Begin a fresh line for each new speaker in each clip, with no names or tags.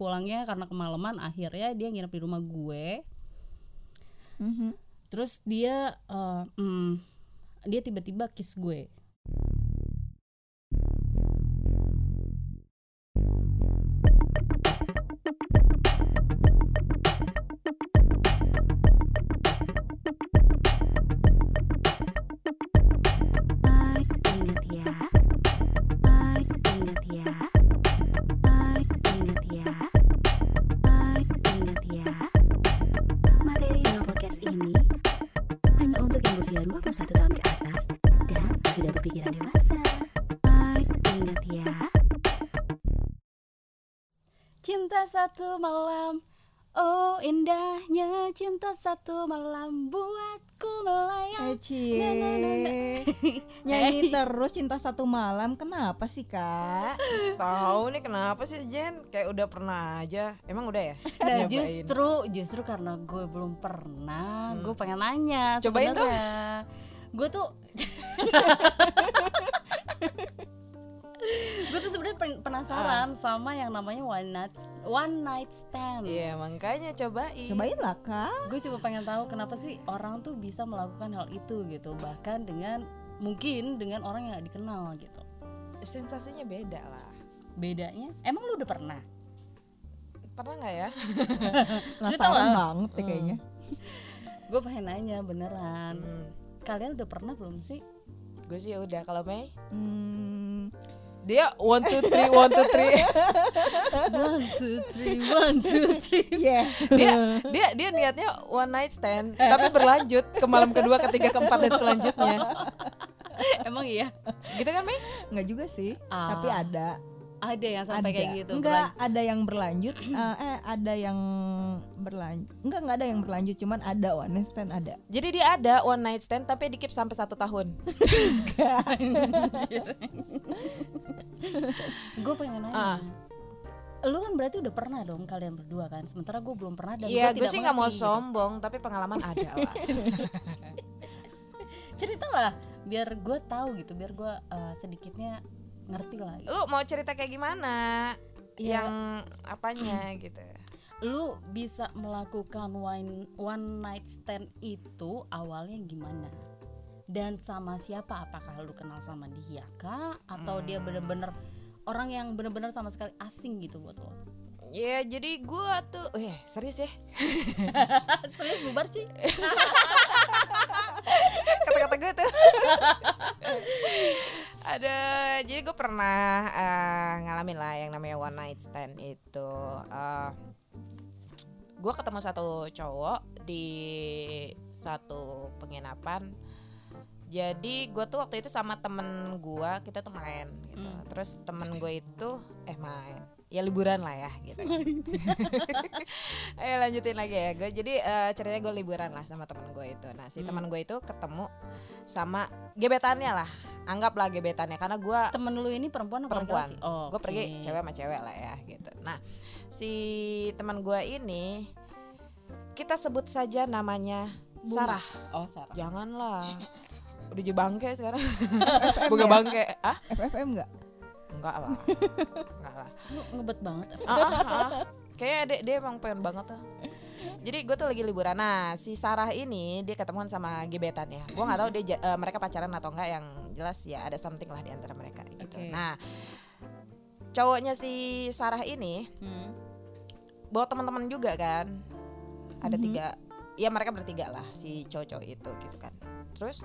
Pulangnya karena kemalaman akhirnya dia nginep di rumah gue.
Mhm.
Terus dia eh, mm, dia tiba-tiba kiss gue.
Guys, ingat ya. Guys, ingat ya. Guys, ingat ya. Guys, ingat ya. Materi Neo Podcast ini hanya untuk yang berusia 21 tahun ke atas dan sudah berpikiran dewasa. Guys, ingat ya.
Cinta satu malam. Oh indahnya cinta satu malam buatku melayang.
Eci.
Na, na, na, na.
Eh, Nyanyi terus cinta satu malam. Kenapa sih, Kak?
Tahu nih kenapa sih Jen? Kayak udah pernah aja. Emang udah ya?
Nah,
Nyobain.
justru justru karena gue belum pernah, gue pengen nanya.
Hmm. Cobain dong.
sebenarnya. Gue tuh gue tuh sebenarnya pen-
Ah.
penasaran sama yang namanya one night one night stand.
Iya, makanya cobain.
Cobain lah, Kak.
Gue cuma pengen tahu kenapa sih orang tuh bisa melakukan hal itu gitu, bahkan dengan mungkin dengan orang yang gak dikenal gitu.
Sensasinya beda lah.
Bedanya, emang lu udah pernah?
Pernah nggak ya?
Cerita
Penasaran
lah.
banget ya kayaknya.
Gue pengen nanya beneran.
Hmm.
Kalian udah pernah belum sih?
Gue sih udah kalau Mei.
Hmm.
Dia one two three one two three.
One two three, one two three.
Yeah.
dia dia dia niatnya one night stand tapi berlanjut ke malam kedua, ketiga, keempat dan selanjutnya.
Emang iya
Gitu kan Mei?
Enggak juga sih,
Ah,
tapi ada.
ada yang sampai
ada.
kayak gitu.
Enggak, ada yang berlanjut. eh, eh, ada yang berlanjut. Enggak, enggak ada yang berlanjut, cuman ada one night stand ada.
Jadi dia ada one night stand tapi dikip sampai satu tahun.
Gue pengen nanya.
Ah.
Lu kan berarti udah pernah dong kalian berdua kan. Sementara gue belum pernah dan
Iya,
gue
gue
tidak
sih nggak mau
mengerti, gitu.
sombong tapi pengalaman ada lah.
Cerita lah biar gue tahu gitu, biar gue eh, sedikitnya ngerti lah. gitu.
Lu mau cerita kayak gimana?
Iya.
Yang apanya gitu.
Lu bisa melakukan one, one night stand itu awalnya gimana? Dan sama siapa? Apakah lu kenal sama dia kah? Atau dia
Hmm.
bener-bener orang yang bener-bener sama sekali asing gitu buat lo?
Ya jadi gue tuh, eh serius ya
Serius bubar sih?
kata-kata gue tuh. Ada, jadi gue pernah eh, ngalamin lah yang namanya one night stand itu. Eh, gue ketemu satu cowok di satu penginapan. Jadi gue tuh waktu itu sama temen gue kita tuh main gitu.
Hmm.
Terus temen gue itu eh main ya liburan lah ya gitu. Eh lanjutin lagi ya gue jadi eh, ceritanya gue liburan lah sama teman gue itu nah si
Hmm.
teman gue itu ketemu sama gebetannya lah anggaplah gebetannya karena gue
Temen lu ini perempuan apa
Perempuan.
laki-laki? Oh,
gue pergi
oke.
cewek sama cewek lah ya gitu nah si teman gue ini kita sebut saja namanya
Bunga.
Sarah
Oh, Sarah.
janganlah udah jadi bangke sekarang bukan
ya?
bangke ah
FFM enggak?
enggak lah enggak lah
Lu ngebet banget.
ah, ah, ah. Kayaknya dia, dia emang pengen banget tuh jadi gue tuh lagi liburan nah si Sarah ini dia ketemuan sama gebetan ya gue nggak tahu dia ja- eh, mereka pacaran atau enggak yang jelas ya ada something lah di antara mereka gitu
Oke.
nah cowoknya si Sarah ini
Hmm.
bawa teman-teman juga kan ada
Mhm.
tiga ya mereka bertiga lah si cowok itu gitu kan terus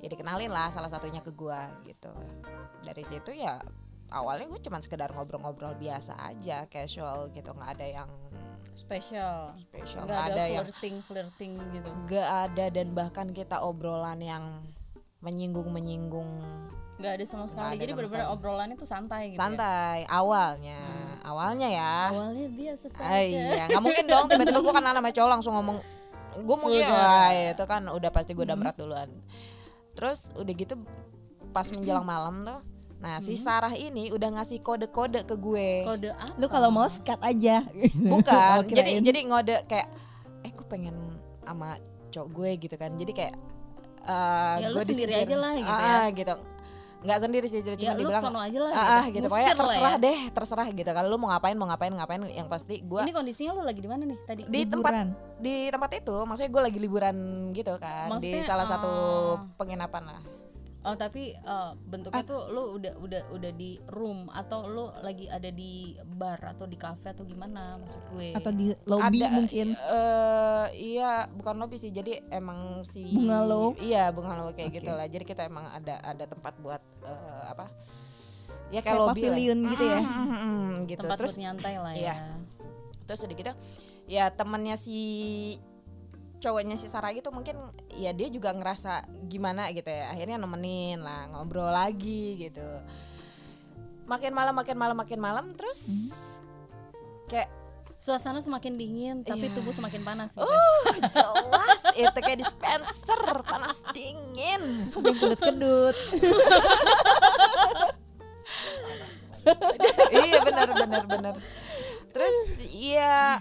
ya dikenalin lah salah satunya ke gua gitu dari situ ya awalnya gue cuman sekedar ngobrol-ngobrol biasa aja casual gitu nggak ada yang
Spesial.
spesial
Enggak
nggak
ada,
ada ya. yang
flirting, flirting gitu.
nggak ada dan bahkan kita obrolan yang menyinggung menyinggung
Enggak ada sama sekali.
ada
Jadi
sama
benar-benar
sekali.
obrolannya tuh santai gitu. ya?
santai awalnya awalnya ya
Awalnya biasa saja.
Ah, iya, nggak mungkin dong tiba-tiba gue kenal sama cowok langsung ngomong gue mungkin
Udah. Mm-hmm.
wah itu kan udah pasti gue damrat duluan. Terus udah gitu pas menjelang malam tuh, nah si Sarah ini udah ngasih kode-kode ke gue.
Mm-hmm. Kode apa?
Lu kalau mau skat aja. Oh,
Bukan, jadi
kirain.
jadi ngode kayak, eh gue pengen sama cowok gue gitu kan, jadi kayak eh,
Ya, lu
gua
sendiri
disingkirin.
aja lah gitu
Ah, ah, gitu. nggak sendiri sih jadi
ya lu
cuma dibilang
sono aja lah
ah, ah, gitu
Ngusir lah
pokoknya terserah
ya.
deh terserah gitu kalau lu mau ngapain mau ngapain ngapain yang pasti gua
ini kondisinya lu lagi di mana nih tadi
di tempat di tempat itu maksudnya gue lagi liburan gitu kan
Maksudnya,
di salah satu
ah.
penginapan lah
oh tapi eh,
Ah.
bentuknya tuh lu udah udah udah di room atau lu lagi ada di bar atau di cafe atau gimana maksud gue
atau di lobby
Ada-
mungkin
eh iya bukan lobby sih jadi emang si
Bungalow?
iya bungalow kayak
Oke.
gitu lah jadi kita emang ada ada tempat buat eh, apa ya kayak,
kayak
lobby lah
pavilion gitu ya.
Mm, mm, mm, mm, gitu
tempat
terus
buat nyantai lah
iya.
ya
terus udah gitu ya temannya si cowoknya si Sarah gitu mungkin ya dia juga ngerasa gimana gitu ya akhirnya nemenin lah ngobrol lagi gitu makin malam makin malam makin malam terus kayak
suasana semakin dingin tapi
Iya.
tubuh semakin panas gitu.
"Wah, jelas itu kayak dispenser panas dingin
Sampai kedut kedut.
iya benar benar benar terus iya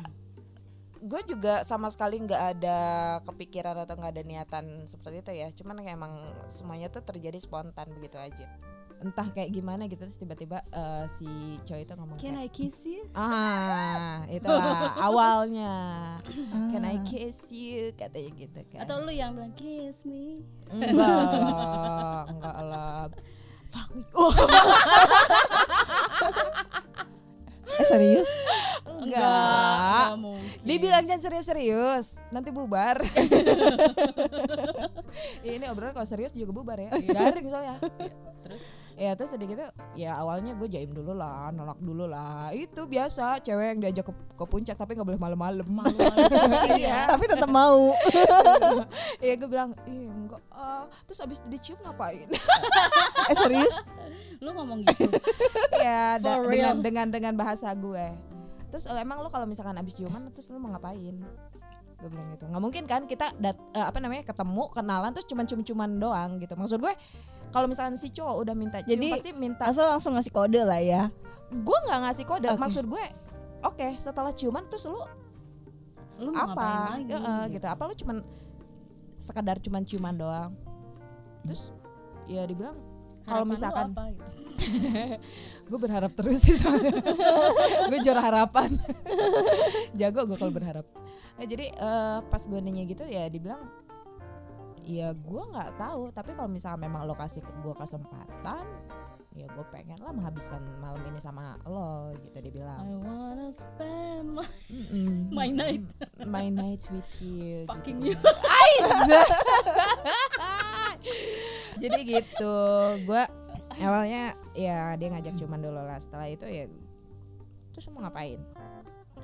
gue juga sama sekali nggak ada kepikiran atau nggak ada niatan seperti itu ya cuman kayak emang semuanya tuh terjadi spontan begitu aja entah kayak gimana gitu terus tiba-tiba eh, si cowok itu ngomong
can I
kayak,
kiss you
ah itulah awalnya can I kiss you katanya gitu kan
atau lu yang bilang kiss me
enggak lah enggak lah fuck me oh,
Eh serius?
enggak
nggak mungkin
Dibilang jangan serius-serius, nanti bubar. ya, ini obrolan kalau serius juga bubar ya. Garing soalnya.
terus?
Ya terus sedikit ya awalnya gue jaim dulu lah, nolak dulu lah. Itu biasa cewek yang diajak ke, ke puncak tapi nggak boleh malam-malam.
Ya.
Iya.
Tapi tetap mau.
Iya gue bilang, iya enggak. ah." Terus abis dicium ngapain?
Eh serius?
lu ngomong gitu
ya da-
For real.
dengan dengan dengan bahasa gue. Terus "Oh, emang lo kalau misalkan abis ciuman terus lo mau ngapain? Gue bilang gitu. Nggak mungkin kan kita dat, eh, apa namanya ketemu kenalan terus cuman cium-ciuman doang gitu. Maksud gue kalau misalkan si cowok udah minta cium
Jadi,
pasti minta.
Asal langsung ngasih kode lah ya.
Gue nggak ngasih kode.
Oke.
Maksud gue oke setelah ciuman terus lo
lu mau ngapain
apa?
lagi
Ya, eh, gitu. Apa lo cuman sekadar cuman ciuman doang? Terus ya dibilang kalau
Harapan lu
misalkan Ah.
apa, gitu.
gue berharap terus sih soalnya gue juara harapan jago gue kalau berharap nah, jadi eh, pas gue nanya gitu ya dibilang ya gue nggak tahu tapi kalau misalnya memang lo kasih gue kesempatan ya gue pengen lah menghabiskan malam ini sama lo gitu dibilang
I wanna spend my,
Mm-mm.
my night
my night with you
fucking
gitu.
you
jadi gitu gue awalnya ya dia ngajak cuman dulu lah setelah itu ya terus mau ngapain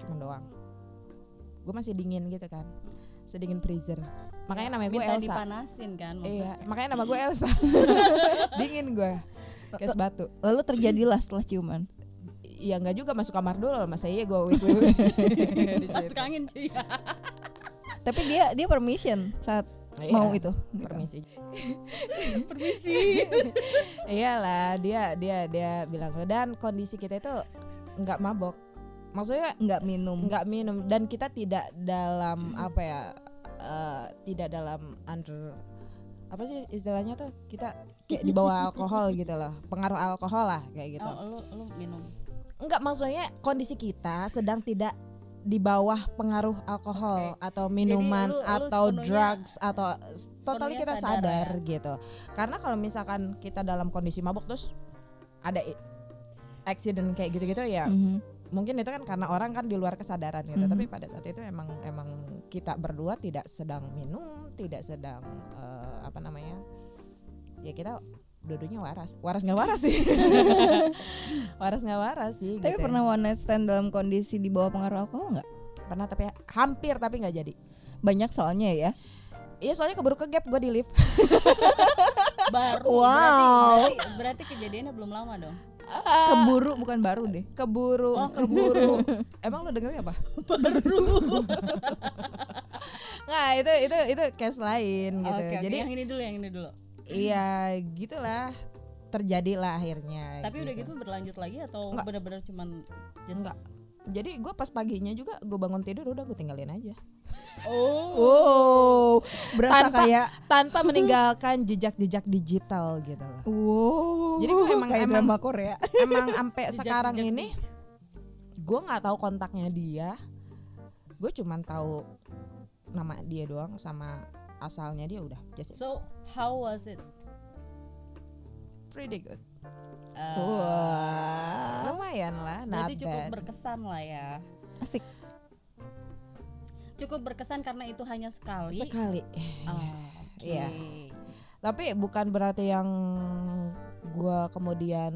cuman doang gue masih dingin gitu kan sedingin freezer makanya namanya gue
minta
Elsa
dipanasin kan
iya makanya nama gue Elsa dingin gue kayak batu
Lalu terjadilah setelah ciuman.
ya nggak juga masuk kamar dulu lah masa iya gue wik wik wik. Di
masuk
situ.
angin cuy
Tapi dia dia permission saat
Iya,
mau itu. gitu.
permisi
permisi
iyalah dia dia dia bilang gitu. dan kondisi kita itu nggak mabok maksudnya
Nggak minum.
nggak minum dan kita tidak dalam apa ya eh, tidak dalam under apa sih istilahnya tuh kita kayak di bawah alkohol gitu loh pengaruh alkohol lah kayak gitu
oh lu lu minum
nggak maksudnya kondisi kita sedang tidak di bawah pengaruh alkohol atau minuman
lu- lu
atau
sepenuhnya-
drugs atau totally
sepenuhnya
kita
sadar
sadar
ya?
gitu karena kalau misalkan kita dalam kondisi mabuk terus ada i- accident kayak gitu-gitu ya
Mhm.
mungkin itu kan karena orang kan di luar kesadaran gitu
Mhm.
tapi pada saat itu emang emang kita berdua tidak sedang minum tidak sedang eh, apa namanya ya kita dudunya waras waras nggak waras sih waras nggak waras sih
Tapi
gitu ya.
pernah one night stand dalam kondisi di bawah pengaruh alkohol nggak?
pernah tapi hampir tapi nggak jadi
Banyak soalnya ya.
iya soalnya keburu ke gap gue di lift
baru
Wow.
berarti, berarti berarti kejadiannya belum lama dong
Eh,
Keburu bukan baru deh.
keburu
Oh,
keburu emang lo dengerin apa nggak itu itu itu case lain gitu
Oke, oke.
jadi
yang ini dulu yang ini dulu
Iya, gitulah terjadilah akhirnya.
tapi udah gitu berlanjut lagi atau
Nggak.
bener-bener cuman just
Nggak. jadi gue pas paginya juga gue bangun tidur udah gue tinggalin aja
Oh.
wow
berasa
Tanpa-
kayak
tanpa meninggalkan jejak-jejak digital gitu loh
wow
Jadi gua emang-
kayak
emang-
drama Korea
emang sampai
Jejak-
sekarang
jejak
ini gue nggak tahu kontaknya dia gue cuman tahu nama dia doang sama asalnya dia udah just
So how was it?
pretty good
Uh,
wah
lumayan lah not
berarti cukup
bad
berkesan lah ya.
asik
Cukup berkesan karena itu hanya sekali.
sekali
Ah, oke.
Iya. tapi bukan berarti yang gue kemudian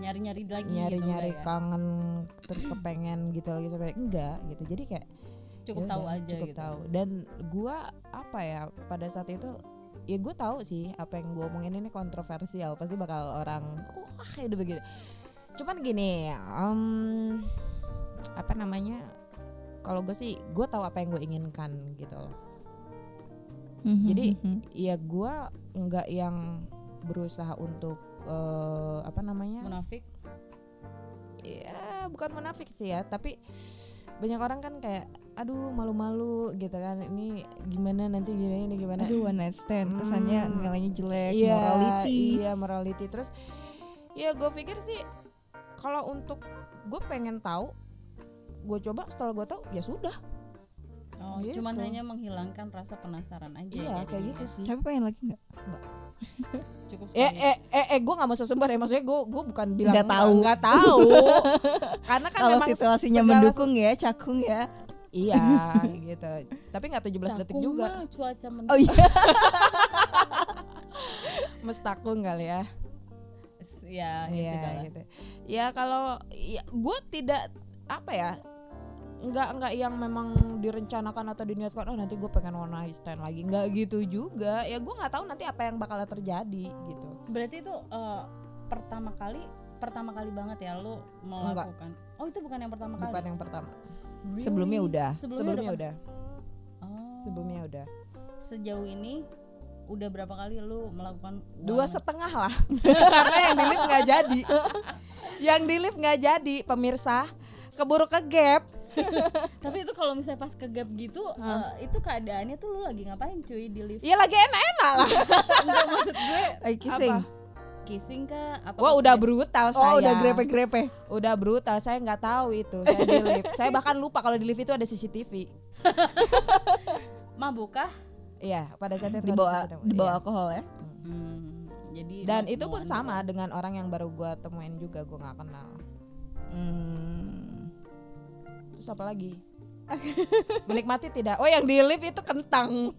Nyari-nyari lagi gitu,
nyari-nyari
enggak ya?
kangen terus kepengen gitu lagi sampai enggak gitu jadi kayak
Cukup
ya
tahu
udah,
aja
cukup
gitu.
tahu dan gua apa ya pada saat itu ya gue tahu sih apa yang gue omongin ini kontroversial pasti bakal orang wah itu begini cuman gini em, apa namanya kalau gue sih gue tahu apa yang gue inginkan gitu loh Jadi-
Mhm.
ya gue nggak yang berusaha untuk eh, apa namanya
Munafik.
ya bukan munafik sih ya tapi banyak orang kan kayak aduh malu-malu gitu kan ini gimana nanti gini ini gimana
aduh one night stand kesannya
Hmm.
nilainya jelek
Iya,
morality
iya morality terus ya gue pikir sih kalau untuk gue pengen tahu gue coba setelah gue tahu ya sudah
Oh,
Gitu.
cuman hanya menghilangkan rasa penasaran aja.
iya kayak
jadinya.
gitu sih
tapi pengen lagi nggak
Cukup
eh
sekali.
eh eh, eh gue nggak mau sesumbar ya maksudnya gue gue bukan bilang
Nggak tahu.
nggak tahu karena kan
kalau
memang
situasinya
segala-
mendukung ya cakung ya
iya gitu tapi nggak 17 detik
Cakung
juga
mah cuaca men
oh iya
mestakung kali ya
ya, ya
Iya
sudahlah.
gitu. Ya kalau ya, gue tidak apa ya nggak nggak yang memang direncanakan atau diniatkan oh nanti gue pengen one night stand lagi nggak gitu juga ya gue nggak tahu nanti apa yang bakal terjadi gitu
Berarti itu eh, pertama kali pertama kali banget ya lu melakukan. Oh, itu bukan yang pertama kali.
bukan yang pertama
Really?
Sebelumnya udah.
Sebelumnya,
sebelumnya
udah.
udah
Oh.
sebelumnya udah
Sejauh ini udah berapa kali lu melakukan
dua
one-
setengah lah karena yang di lift nggak jadi yang di lift nggak jadi pemirsa keburu ke gap
Tapi itu kalau misalnya pas ke gap gitu, eh, itu keadaannya tuh lu lagi ngapain cuy di lift?
ya lagi enak-enak lah
Enggak maksud gue
Ay, kissing
Apa?
kissing kah apa?
wah udah brutal saya
oh udah grepe grepe
Udah brutal, saya nggak tahu itu. Saya di lift. saya bahkan lupa kalau di lift itu ada CCTV.
mabuk kah?
Iya, pada saat itu ada
dibawa
CCTV.
dibawa
Iya.
alkohol ya
Hmm, jadi
Dan
mau-
itu pun
mau-
sama dengan orang yang baru gua temuin juga gua nggak kenal.
Hmm.
Terus apa lagi? Menikmati tidak? Oh, yang di lift itu kentang.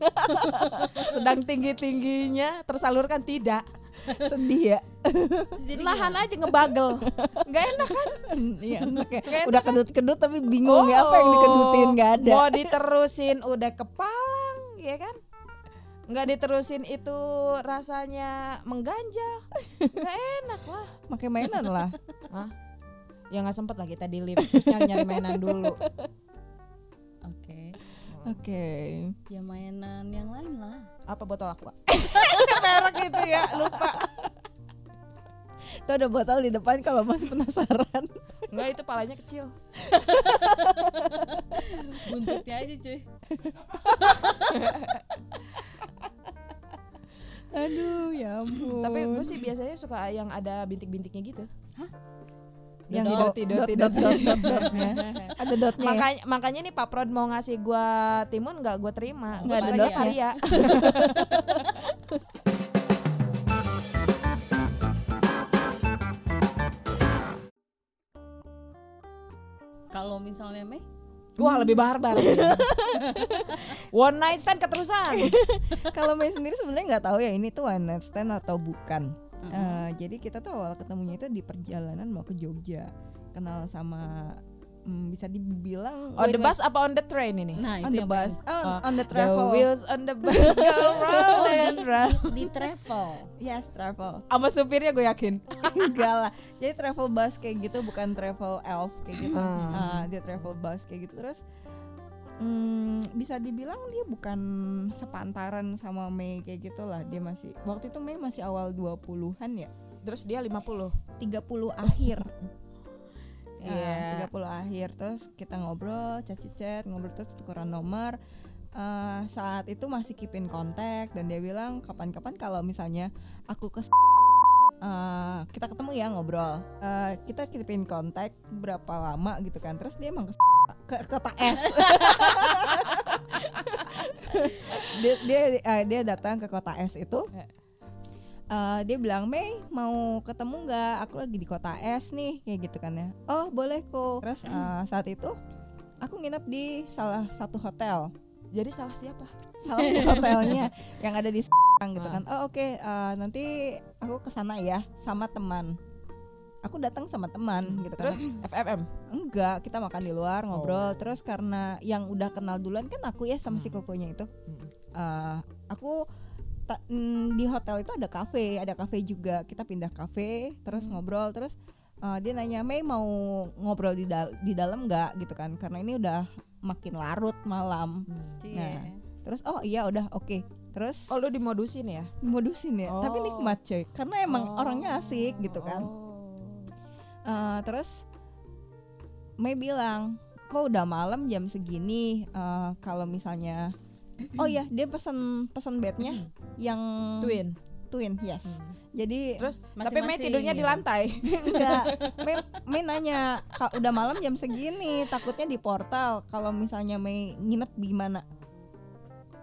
Sedang tinggi-tingginya tersalurkan tidak.
sedih ya
Terus jadi
Nahan aja ngebagel. nggak enak kan?
Iya, enak ya.
Nggak enak
udah kedut kedut tapi bingung ya apa yang dikedutin nggak ada
Oh. Mau diterusin udah kepalang, ya kan? Nggak diterusin itu rasanya mengganjal. Nggak enak lah.
pakai mainan lah
Hah? Ya nggak sempet lah kita di lift terus nyari, nyari mainan dulu.
Oke.
oke
Ya mainan yang lain lah.
Apa botol aqua?
merek itu ya lupa itu ada botol di depan kalau masih penasaran
Nggak itu palanya kecil.
Buntutnya aja cuy.
aduh ya ampun
Tapi gue sih biasanya suka yang ada bintik-bintiknya gitu.
yang
dot,
dot,
dot,
dot,
dot,
dot, dot, dot, dotnya ada dotnya ya?
Makanya makanya nih Pak Prod mau ngasih gua timun nggak gue terima. Gue
Nggak ada
sukanya
dotnya.
Thalia.
Kalau misalnya Mei,
Wah lebih barbar. One night stand keterusan.
kalau Mei sendiri sebenarnya nggak tahu ya ini tuh one night stand atau bukan Eh, jadi kita tuh awal ketemunya itu di perjalanan mau ke Jogja kenal sama hmm, bisa dibilang
On
Wait,
the
wait.
bus apa on the train ini?
nah
on
itu
the
yang
bus on,
Ah,
on the
The
travel
wheels on the bus go round and round.
pengen- di travel.
yes travel
Sama supirnya gue yakin.
enggak lah jadi travel bus kayak gitu bukan travel elf kayak gitu
Hmm.
Ah, dia travel bus kayak gitu terus mm, bisa dibilang dia bukan sepantaran sama Mei kayak gitulah dia masih waktu itu Mei masih awal 20-an ya
Terus dia 50.
30 akhir ya,
Iya.
30 akhir terus kita ngobrol chat-chat ngobrol terus tukeran nomor Eh, saat itu masih keep in kontak dan dia bilang kapan-kapan kalau misalnya aku ke eh, kita ketemu ya ngobrol Eh, kita keep in kontak berapa lama gitu kan terus dia emang ke ke kota S dia dia eh, dia datang ke kota S itu Eh, dia bilang Mei mau ketemu nggak aku lagi di kota S nih kayak gitu kan ya oh boleh kok terus eh, saat itu aku nginep di salah satu hotel
Jadi salah siapa?
salah satu hotelnya yang ada di Serang gitu kan oh oke eh, nanti aku kesana ya sama teman aku datang sama teman gitu kan
Terus FFM.
enggak kita makan di luar ngobrol terus karena yang udah kenal duluan kan aku ya sama si
Oh. Hmm.
kokonya itu
Hmm.
Eh, aku ta- mm, di hotel itu ada kafe ada kafe juga kita pindah kafe terus
Hmm.
ngobrol terus eh, dia nanya Mei mau ngobrol di dal- di dalam nggak gitu kan karena ini udah makin larut malam
Cie.
Nah.
terus oh iya udah oke terus
Hmm. Oh lu dimodusin ya?
modusin ya tapi
Oh.
nikmat cuy karena emang
Oh.
orangnya asik gitu kan
Oh.
Eh, terus Mei bilang, kok udah malam jam segini. eh, kalau misalnya, oh ya dia pesan pesan bednya yang
Twin. Hmm.
twin, yes. Jadi
Terus tapi
Masing-masing,
Mei tidurnya di
ya.
lantai.
enggak, Mei, Mei nanya, "Kak, udah malam jam segini, takutnya di portal. Kalau misalnya Mei nginep di mana?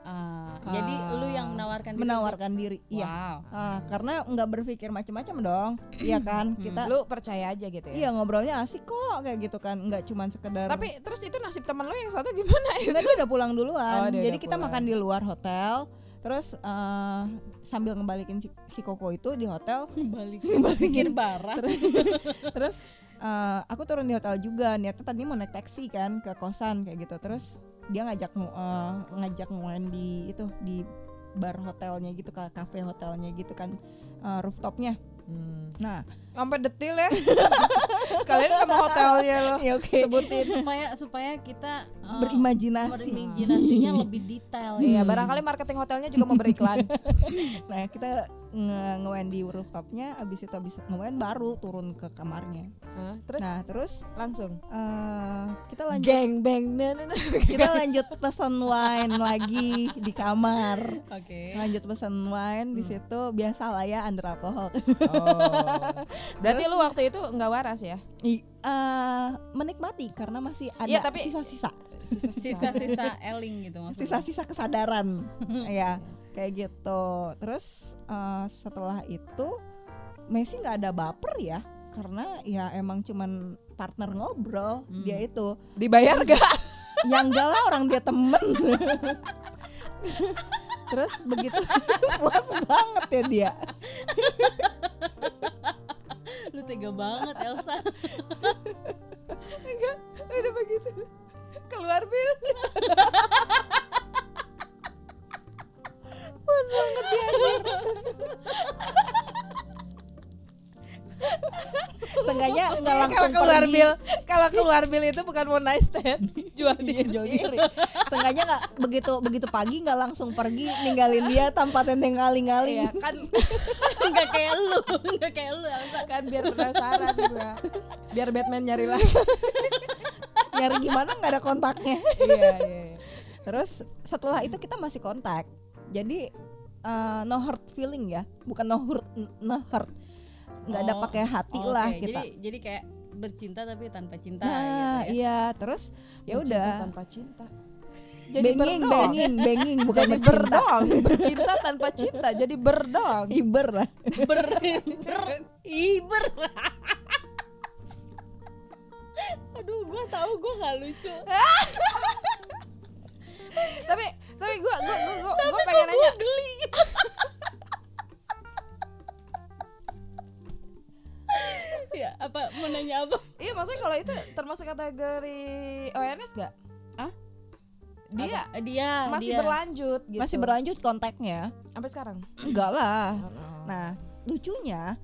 Ah, jadi lu yang menawarkan
Kan
diri
Menawarkan diri,
untuk-
iya.
Wow.
Ah, karena nggak berpikir macam-macam dong, iya kan? Kita,
Hmm. Lu percaya aja gitu ya.
iya ngobrolnya asik kok kayak gitu kan, nggak cuman sekedar.
Tapi terus itu nasib temen lu yang satu gimana itu?
Enggak dia udah pulang duluan.
Oh, dia
Jadi
udah
kita
pulang.
makan di luar hotel. Terus eh, sambil ngebalikin si, si Koko itu di hotel.
Balik. Bikin barang.
Terus eh, aku turun di hotel juga. Niatnya tadi mau naik taksi kan ke kosan kayak gitu. Terus dia ngajak ngu- eh, ngajak nguen di itu di bar hotelnya gitu, ke kafe hotelnya gitu kan eh, rooftopnya.
Hmm.
Nah,
Sampai detil ya. Sekalian sama hotelnya lo.
ya oke.
Sebutin.
supaya supaya kita
Oh,
eh,
Berimajinasi.
berimajinasinya lebih detail
Iya, barangkali marketing hotelnya juga mau beriklan.
Nah, kita nge- nguen di rooftopnya. Abis itu abis nguen baru turun ke kamarnya.
Hah, terus
Nah, terus
langsung
eh, kita lanjut.
geng bang nah, nah, nah.
kita lanjut pesan wine lagi di kamar
oke
Nah,
lanjut pesan wine
Hmm.
di situ biasa lah ya under alkohol
Oh. Berarti lu waktu itu nggak waras ya?
I- eh, menikmati karena masih ada
Iya, tapi-
sisa-sisa
sisa-sisa eling gitu maksudnya
sisa-sisa kesadaran ya kayak gitu terus eh, setelah itu Messi nggak ada baper ya karena ya emang cuman partner ngobrol
Hmm.
dia itu
Dibayar gak?
yang Ya enggak lah orang dia temen terus begitu puas banget ya dia
lu tega banget Elsa
Udah begitu keluar bil.
seenggaknya enggak
Kalau
langsung
keluar
pergi
bil, kalau keluar bil itu bukan mau nice stand, jual
Iya,
diri.
jual diri. seenggaknya enggak begitu begitu pagi enggak langsung pergi ninggalin dia tanpa tendeng
Iya
ngaling-ngaling
kan
nggak kayak lu nggak kayak lu Elsa
kan biar penasaran gua. Biar Batman nyari lagi.
nyari gimana enggak ada kontaknya
iya, iya. iya.
terus setelah itu kita masih kontak jadi eh, no hurt feeling ya bukan no hurt no hurt nggak ada
Oh,
pakai hati
Oh,
lah
oke.
kita
jadi jadi kayak bercinta tapi tanpa cinta
nah
gitu ya.
iya terus ya
Bercinta
udah
tanpa cinta.
benging, benging, benging, bukan
Jadi
bercinta.
berdong, bercinta tanpa cinta, jadi berdong.
Iber lah.
ber ber iber aduh gua tahu gua nggak lucu
tapi tapi gua gua gua gua, gua pengen nanya.
geli ya apa mau nanya apa
Iya, maksudnya kalau itu termasuk kategori ONS gak?
Hah?
Dia
Eh, dia
masih
dia.
berlanjut gitu.
Masih berlanjut kontaknya?
sampai sekarang.
Enggak lah. Nah, lucunya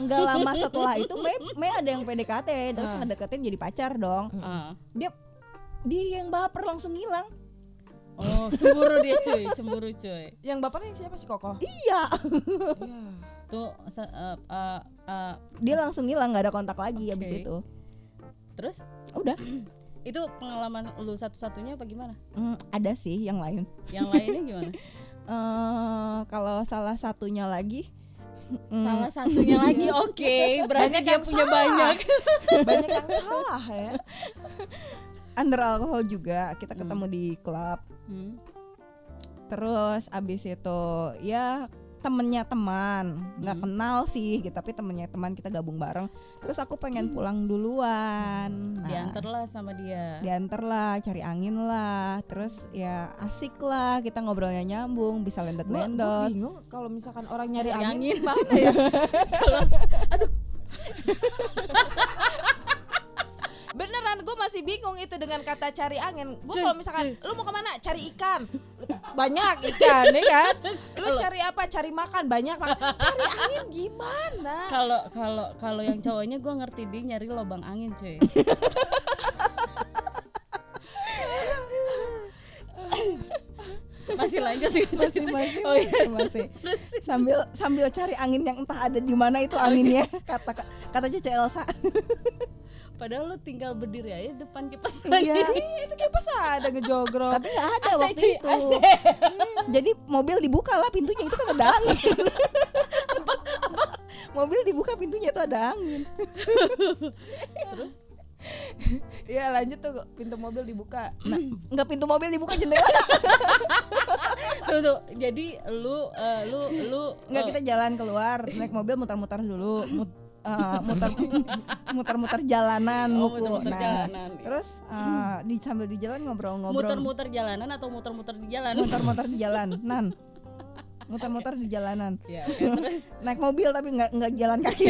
enggak lama setelah itu Mei Mei ada yang PDKT terus ngedeketin jadi pacar dong.
Ah.
Dia dia yang baper langsung hilang.
oh cemburu dia cuy cemburu cuy
Yang bapaknya siapa sih Kokoh?
Iya,
Iya.
tuh se- eh, eh, eh,
dia langsung hilang nggak ada kontak lagi
Oke.
abis itu.
Terus
udah
itu pengalaman lu satu-satunya apa gimana?
Hmm, ada sih yang lain
Yang lainnya gimana?
eh kalau salah satunya lagi mm,
Salah satunya lagi oke, berarti
Banyak
dia
yang
punya
salah.
Hmm. banyak.
banyak yang salah ya
under alkohol juga kita ketemu di klub
Hmm.
terus abis itu ya temennya teman nggak
Hmm.
kenal sih gitu tapi temennya teman kita gabung bareng terus aku pengen pulang duluan
Hmm.
Nah,
Diantar lah sama dia.
diantar lah cari angin lah terus ya asik lah kita ngobrolnya nyambung bisa lendet
Gua- gua
lendet
bingung kalau misalkan orang nyari
Nyari angin.
angin mana ya beneran gue masih bingung itu dengan kata cari angin gue kalau misalkan lu mau kemana cari ikan banyak ikan ya kan lu cari apa cari makan banyak makan. cari angin gimana
Kalau kalau kalau yang cowoknya gue ngerti dia nyari lubang angin cuy. masih lanjut ya?
masih masih
Oh iya.
masih sambil sambil cari angin yang entah ada di mana itu anginnya kata kata Cece Elsa
Padahal lu tinggal berdiri aja depan kipas lagi.
iya
itu kipas ada ngejogrok
tapi nggak ada
Asik,
waktu
cuy,
itu
asik.
jadi mobil dibuka lah pintunya itu kan ada angin mobil dibuka pintunya itu ada angin
Iya lanjut tuh pintu mobil dibuka
nah, nggak pintu mobil dibuka jendela
Tuh, tuh. Jadi lu eh, lu lu
nggak
eh,
kita jalan keluar naik mobil muter-muter dulu mut, eh, muter muter-muter jalanan
Oh,
Wuku.
muter-muter
nah
jalanan.
terus eh, di sambil di jalan ngobrol-ngobrol
muter-muter jalanan atau muter-muter di jalan?
muter-muter di jalan nan muter-muter di jalanan
Ya, oke, terus
naik mobil tapi nggak nggak jalan kaki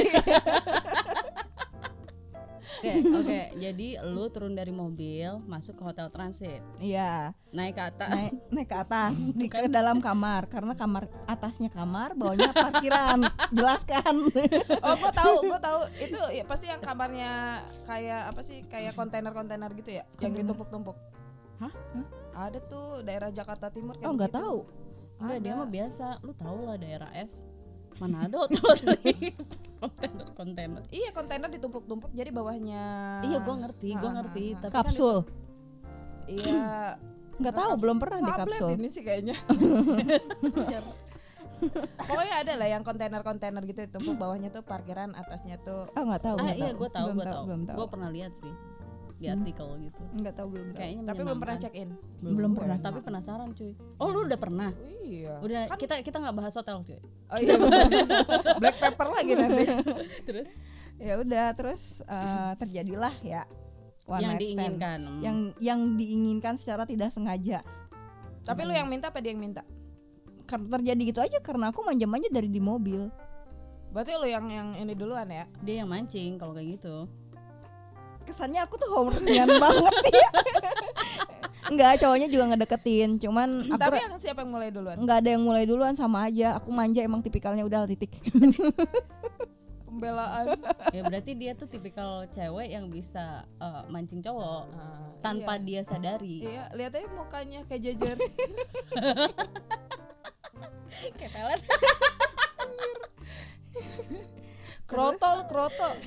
oke, oke. Jadi lu turun dari mobil, masuk ke hotel transit,
iya
naik ke atas.
naik naik ke atas di ke dalam kamar karena kamar atasnya kamar bawahnya parkiran jelaskan
Oh gue tahu gue tahu itu ya pasti yang kamarnya kayak apa sih kayak kontainer-kontainer gitu ya yang ditumpuk-tumpuk
Hah?
ada tuh daerah Jakarta Timur kayak
oh nggak
begitu.
tahu
Enggak, dia
Ada.
mah biasa. Lu tau lah daerah S. Mana ada hotel kontainer kontainer.
Iya kontainer ditumpuk-tumpuk jadi bawahnya
Iya, gua ngerti, gua
Ah,
ngerti.
ah, ah.
Tapi kan
kapsul
Iya
nggak tahu belum pernah di
tablet
kapsul
ini sih kayaknya Pokoknya ada lah yang kontainer-kontainer gitu ditumpuk bawahnya tuh parkiran atasnya tuh
ah nggak tahu
itu- ah, iya,
nggak
gua tahu,
Belum
gua tahu.
belum tahu
Gua pernah lihat sih di artikel gitu.
nggak tahu belum tahu
Kayaknya
tapi belum pernah
menyenangkan.
check in
Belum pernah.
Tapi penasaran, cuy. Oh, lu udah pernah?
Iya
Udah
Kan-
kita kita nggak bahas hotel, cuy.
Oh iya bener. Black pepper lagi nanti
Terus
ya udah terus eh, terjadilah ya one
yang
night stand
diinginkan. Hmm.
yang yang diinginkan secara tidak sengaja
Tapi lu yang minta apa dia yang minta?
karena terjadi gitu aja karena aku manja-manja dari di mobil
Berarti lu yang yang ini duluan ya?
dia yang mancing kalau kayak gitu.
kesannya aku tuh homernya banget ya nggak cowoknya juga ngedeketin cuman aku
Tapi
ra-
yang siapa yang mulai duluan?
nggak ada yang mulai duluan sama aja aku manja emang tipikalnya udah titik
Pembelaan.
ya berarti dia tuh tipikal cewek yang bisa eh, mancing cowok
Ah,
tanpa dia
iya.
sadari.
Iya, lihat aja mukanya kayak jajar.
Iya.
Kayak pelet.
Krotol, kroto.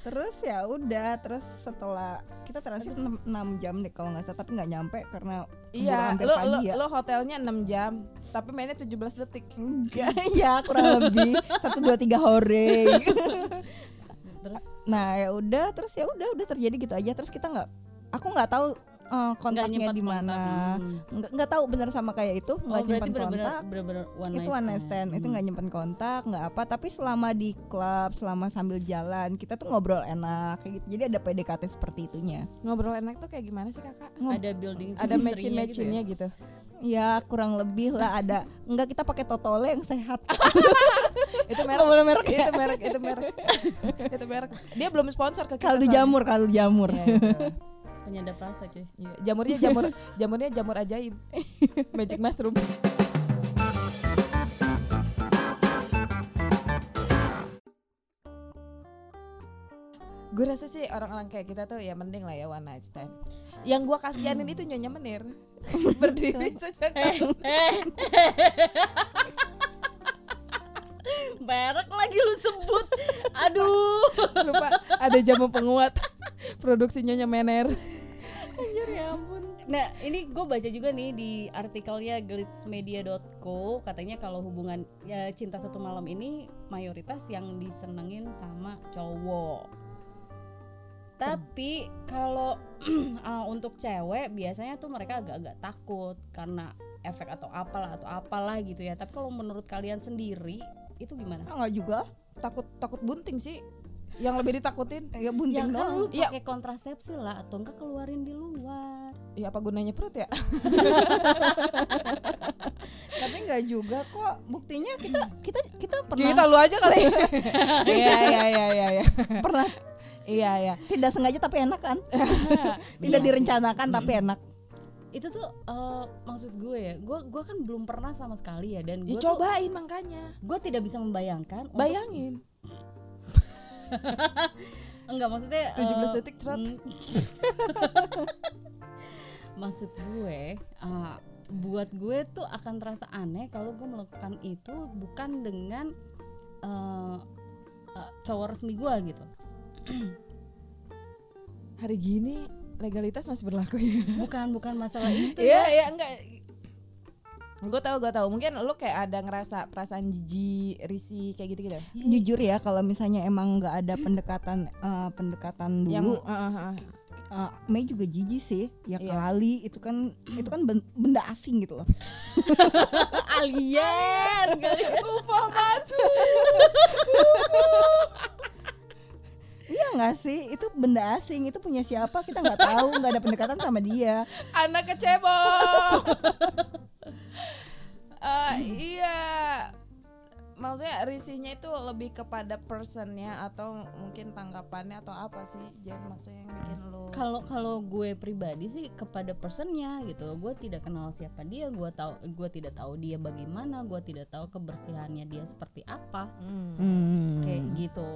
terus ya udah terus setelah kita transit 6 jam deh kalau nggak salah tapi nggak nyampe karena keburu
Iya,
hampir
lu
pagi
lu,
ya
lu hotelnya 6 jam, tapi mainnya 17 detik.
Enggak, ya kurang lebih satu dua tiga hore
Terus
nah ya udah terus ya udah udah terjadi gitu aja terus kita nggak aku nggak tahu eh, kontaknya
nyimpan
di mana
kontak, hmm.
nggak nggak tahu benar sama kayak itu
oh,
nggak
berarti
nyimpan
benar-benar
kontak
benar-benar one night ya?
itu one night stand itu
Hmm.
nggak nyimpan kontak nggak apa tapi selama di klub selama sambil jalan kita tuh ngobrol enak kayak gitu jadi ada PDKT seperti itunya
Ngobrol enak tuh kayak gimana sih, Kakak?
Hmm.
ada building
Ada
chemistry-nya
matching-matchingnya
gitu.
gitu.
ya kurang lebih lah ada nggak kita pakai totole yang sehat
Itu merek.
Nggak boleh merek ya?
Itu merek, itu merek. itu merek. Dia belum sponsor ke kita.
kaldu
soalnya.
jamur kaldu jamur
Iya, iya.
ya. Penyadap rasa cuy.
Iya, jamurnya jamur jamurnya jamur ajaib. Magic mushroom. Gue rasa sih orang-orang kayak kita tuh ya mending lah ya one night stand. Yang gua kasianin itu Nyonya Menir. Berdiri sejak
Eh, eh. Merek lagi lu sebut. Aduh.
lupa ada jamu penguat produksinya Nyonya Mener
ya
Nah, ini gue baca juga nih di artikelnya glitzmedia.co katanya kalau hubungan ya, cinta satu malam ini mayoritas yang disenengin sama cowok. Tapi kalau ah, untuk cewek biasanya tuh mereka agak-agak takut karena efek atau apalah atau apalah gitu ya. Tapi kalau menurut kalian sendiri itu gimana?
Ah, nggak juga
takut takut bunting sih yang lebih ditakutin
ya
Ya
bunting
kan
doang
lu
Iya.
pakai kontrasepsi lah atau enggak keluarin di luar.
ya apa gunanya perut ya
tapi nggak juga kok buktinya kita kita kita pernah
kita lu aja kali iya iya iya iya iya
pernah
iya iya
tidak sengaja tapi enak kan tidak
Iya.
direncanakan tapi
Hmm.
enak
itu tuh eh, maksud gue ya gue gue kan belum pernah sama sekali ya dan gue
ya
tuh
cobain makanya
gue tidak bisa membayangkan untuk-
bayangin
enggak maksudnya
17
eh,
detik, Trot.
mm. maksud gue eh, buat gue tuh akan terasa aneh kalau gue melakukan itu bukan dengan eh, eh, cowok resmi gue gitu
hari gini legalitas masih berlaku ya
bukan bukan masalah itu
iya iya enggak gue tau gue tau mungkin lu kayak ada ngerasa perasaan jijik risih kayak gitu gitu
jujur ya kalau misalnya emang nggak ada pendekatan eh, pendekatan
yang
dulu
eh, eh, eh.
eh, Mei juga jijik sih ya
Iya.
kali itu kan itu kan ben- benda asing gitu loh
alien kali ya.
iya nggak sih itu benda asing itu punya siapa kita nggak tahu nggak ada pendekatan sama dia
anak kecebong Eh, iya maksudnya risihnya itu lebih kepada personnya atau mungkin tanggapannya atau apa sih Jen maksudnya yang bikin lu
kalau kalau gue pribadi sih kepada personnya gitu gue tidak kenal siapa dia gue tahu gue tidak tahu dia bagaimana gue tidak tahu kebersihannya dia seperti apa
Hmm.
Hmm.
kayak gitu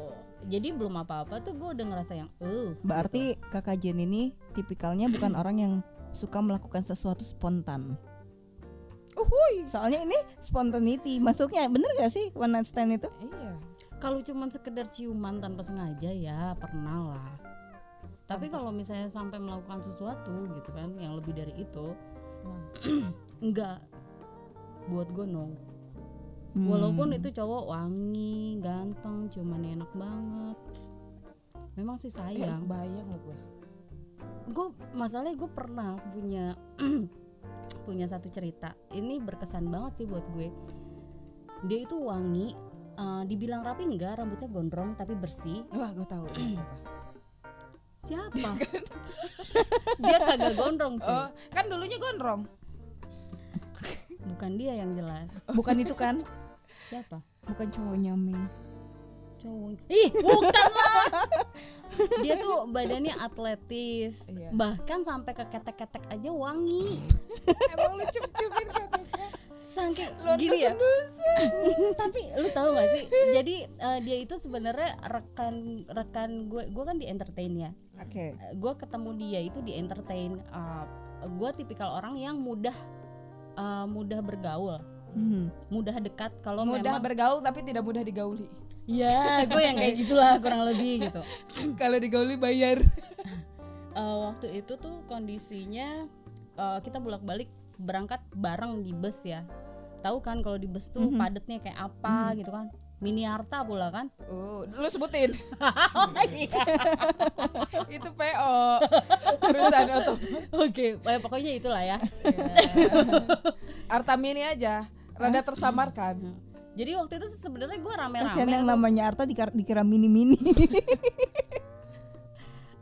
jadi belum apa-apa tuh gue udah ngerasa yang eh
berarti kakak Jen ini tipikalnya bukan orang yang suka melakukan sesuatu spontan Uhuy. Soalnya ini spontaneity masuknya bener gak sih one night stand itu?
iya
kalau cuman sekedar ciuman tanpa sengaja ya pernah lah tapi
Tanpa-
kalau misalnya sampai melakukan sesuatu gitu kan yang lebih dari itu enggak buat gue no Walaupun
Hmm.
itu cowok wangi, ganteng, cuman enak banget. Memang sih
iya
Hmm.
sayang.
bayang lu gue
Gue masalahnya gue pernah punya punya satu cerita. Ini berkesan banget sih buat gue. Dia itu wangi, eh, dibilang rapi enggak, rambutnya gondrong tapi bersih.
wah gue tahu ini siapa
Siapa? dia kagak gondrong, cuy.
oh kan dulunya gondrong
Bukan dia yang jelas.
Bukan itu kan?
Siapa?
Bukan cowoknya Mei.
cowok ih bukan lah dia tuh badannya atletis
Iya.
bahkan sampai ke ketek-ketek aja wangi
emang lu kan? cup-cupin katanya
saking gini ya tapi lu tahu gak sih jadi eh, dia itu sebenarnya rekan rekan gue gue kan di entertain ya
Oke.
gue ketemu dia itu di entertain Eh, gue tipikal orang yang mudah eh, mudah bergaul
Hmm.
mudah dekat kalau
mudah
memang
bergaul tapi tidak mudah digauli
ya gue yang kayak gitulah kurang lebih gitu
kalau digauli bayar
Eh, waktu itu tuh kondisinya eh, kita bolak-balik berangkat bareng di bus ya. Tahu kan kalau di bus tuh
Mhm.
padatnya kayak apa
Mhm.
gitu kan. Miniarta pula kan.
uh, lu sebutin
oh iya.
itu PO perusahaan otom
Oke, eh, pokoknya itulah ya.
Artamini aja rada tersamarkan
Mhm. Jadi waktu itu sebenarnya gue
Kasihan
rame-rame
yang
tuh.
namanya Arta dikira, dikira mini-mini.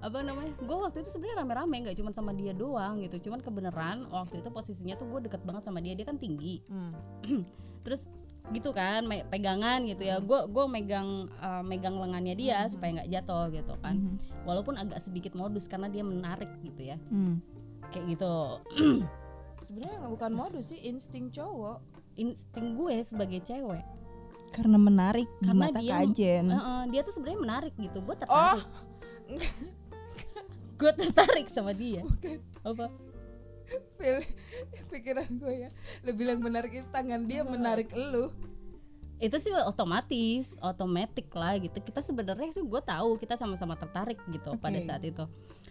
apa namanya? Gue waktu itu sebenarnya rame-rame nggak cuma sama dia doang gitu. Cuman kebenaran waktu itu posisinya tuh gue deket banget sama dia. Dia kan tinggi.
Hmm.
terus gitu kan me- pegangan gitu ya gue gue megang uh, megang lengannya dia supaya nggak jatuh gitu kan walaupun agak sedikit modus karena dia menarik gitu ya
Hmm.
kayak gitu
sebenarnya nggak bukan modus sih insting cowok
insting gue sebagai cewek
Karena menarik
Karena
di mata
dia-
Kak Jen.
Eh, eh, dia tuh sebenarnya menarik gitu gue
oh
tertarik gue tertarik sama dia apa Iya.
pil- pikiran gue ya lu bilang menarik itu tangan dia menarik lu
itu sih otomatis otomatis lah gitu kita sebenarnya sih gue tahu kita sama-sama tertarik gitu pada
Oke.
saat itu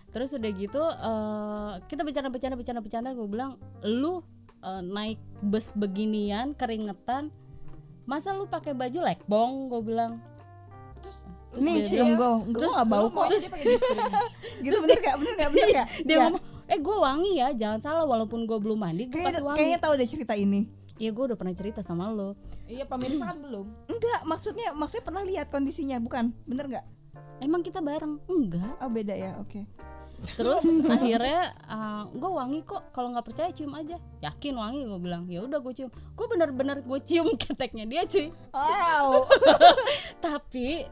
terus udah gitu eh, kita bercanda bercanda bercanda bercanda gue bilang lu eh, naik bus beginian keringetan masa lu pakai baju lekbong gue bilang terus
Nih,
dia
cium
bilang-
gue, gue
terus
gak
oh,
bau kok.
terus
Gitu bener gak? Bener gak? Bener gak?
dia
Ya,
ngomong eh gue wangi ya jangan salah walaupun gue belum mandi gue
Kayaknya,
pasti wangi
kayaknya tahu deh cerita ini.
ya gue udah pernah cerita sama lo
Iya pemirsa kan belum.
Enggak, maksudnya maksudnya pernah lihat kondisinya, bukan? Bener nggak?
emang kita bareng enggak
Oh beda ya, oke.
terus akhirnya gue wangi kok kalau nggak percaya cium aja yakin wangi gue bilang ya udah gue cium gue bener-bener gue cium keteknya dia cuy
Wow.
tapi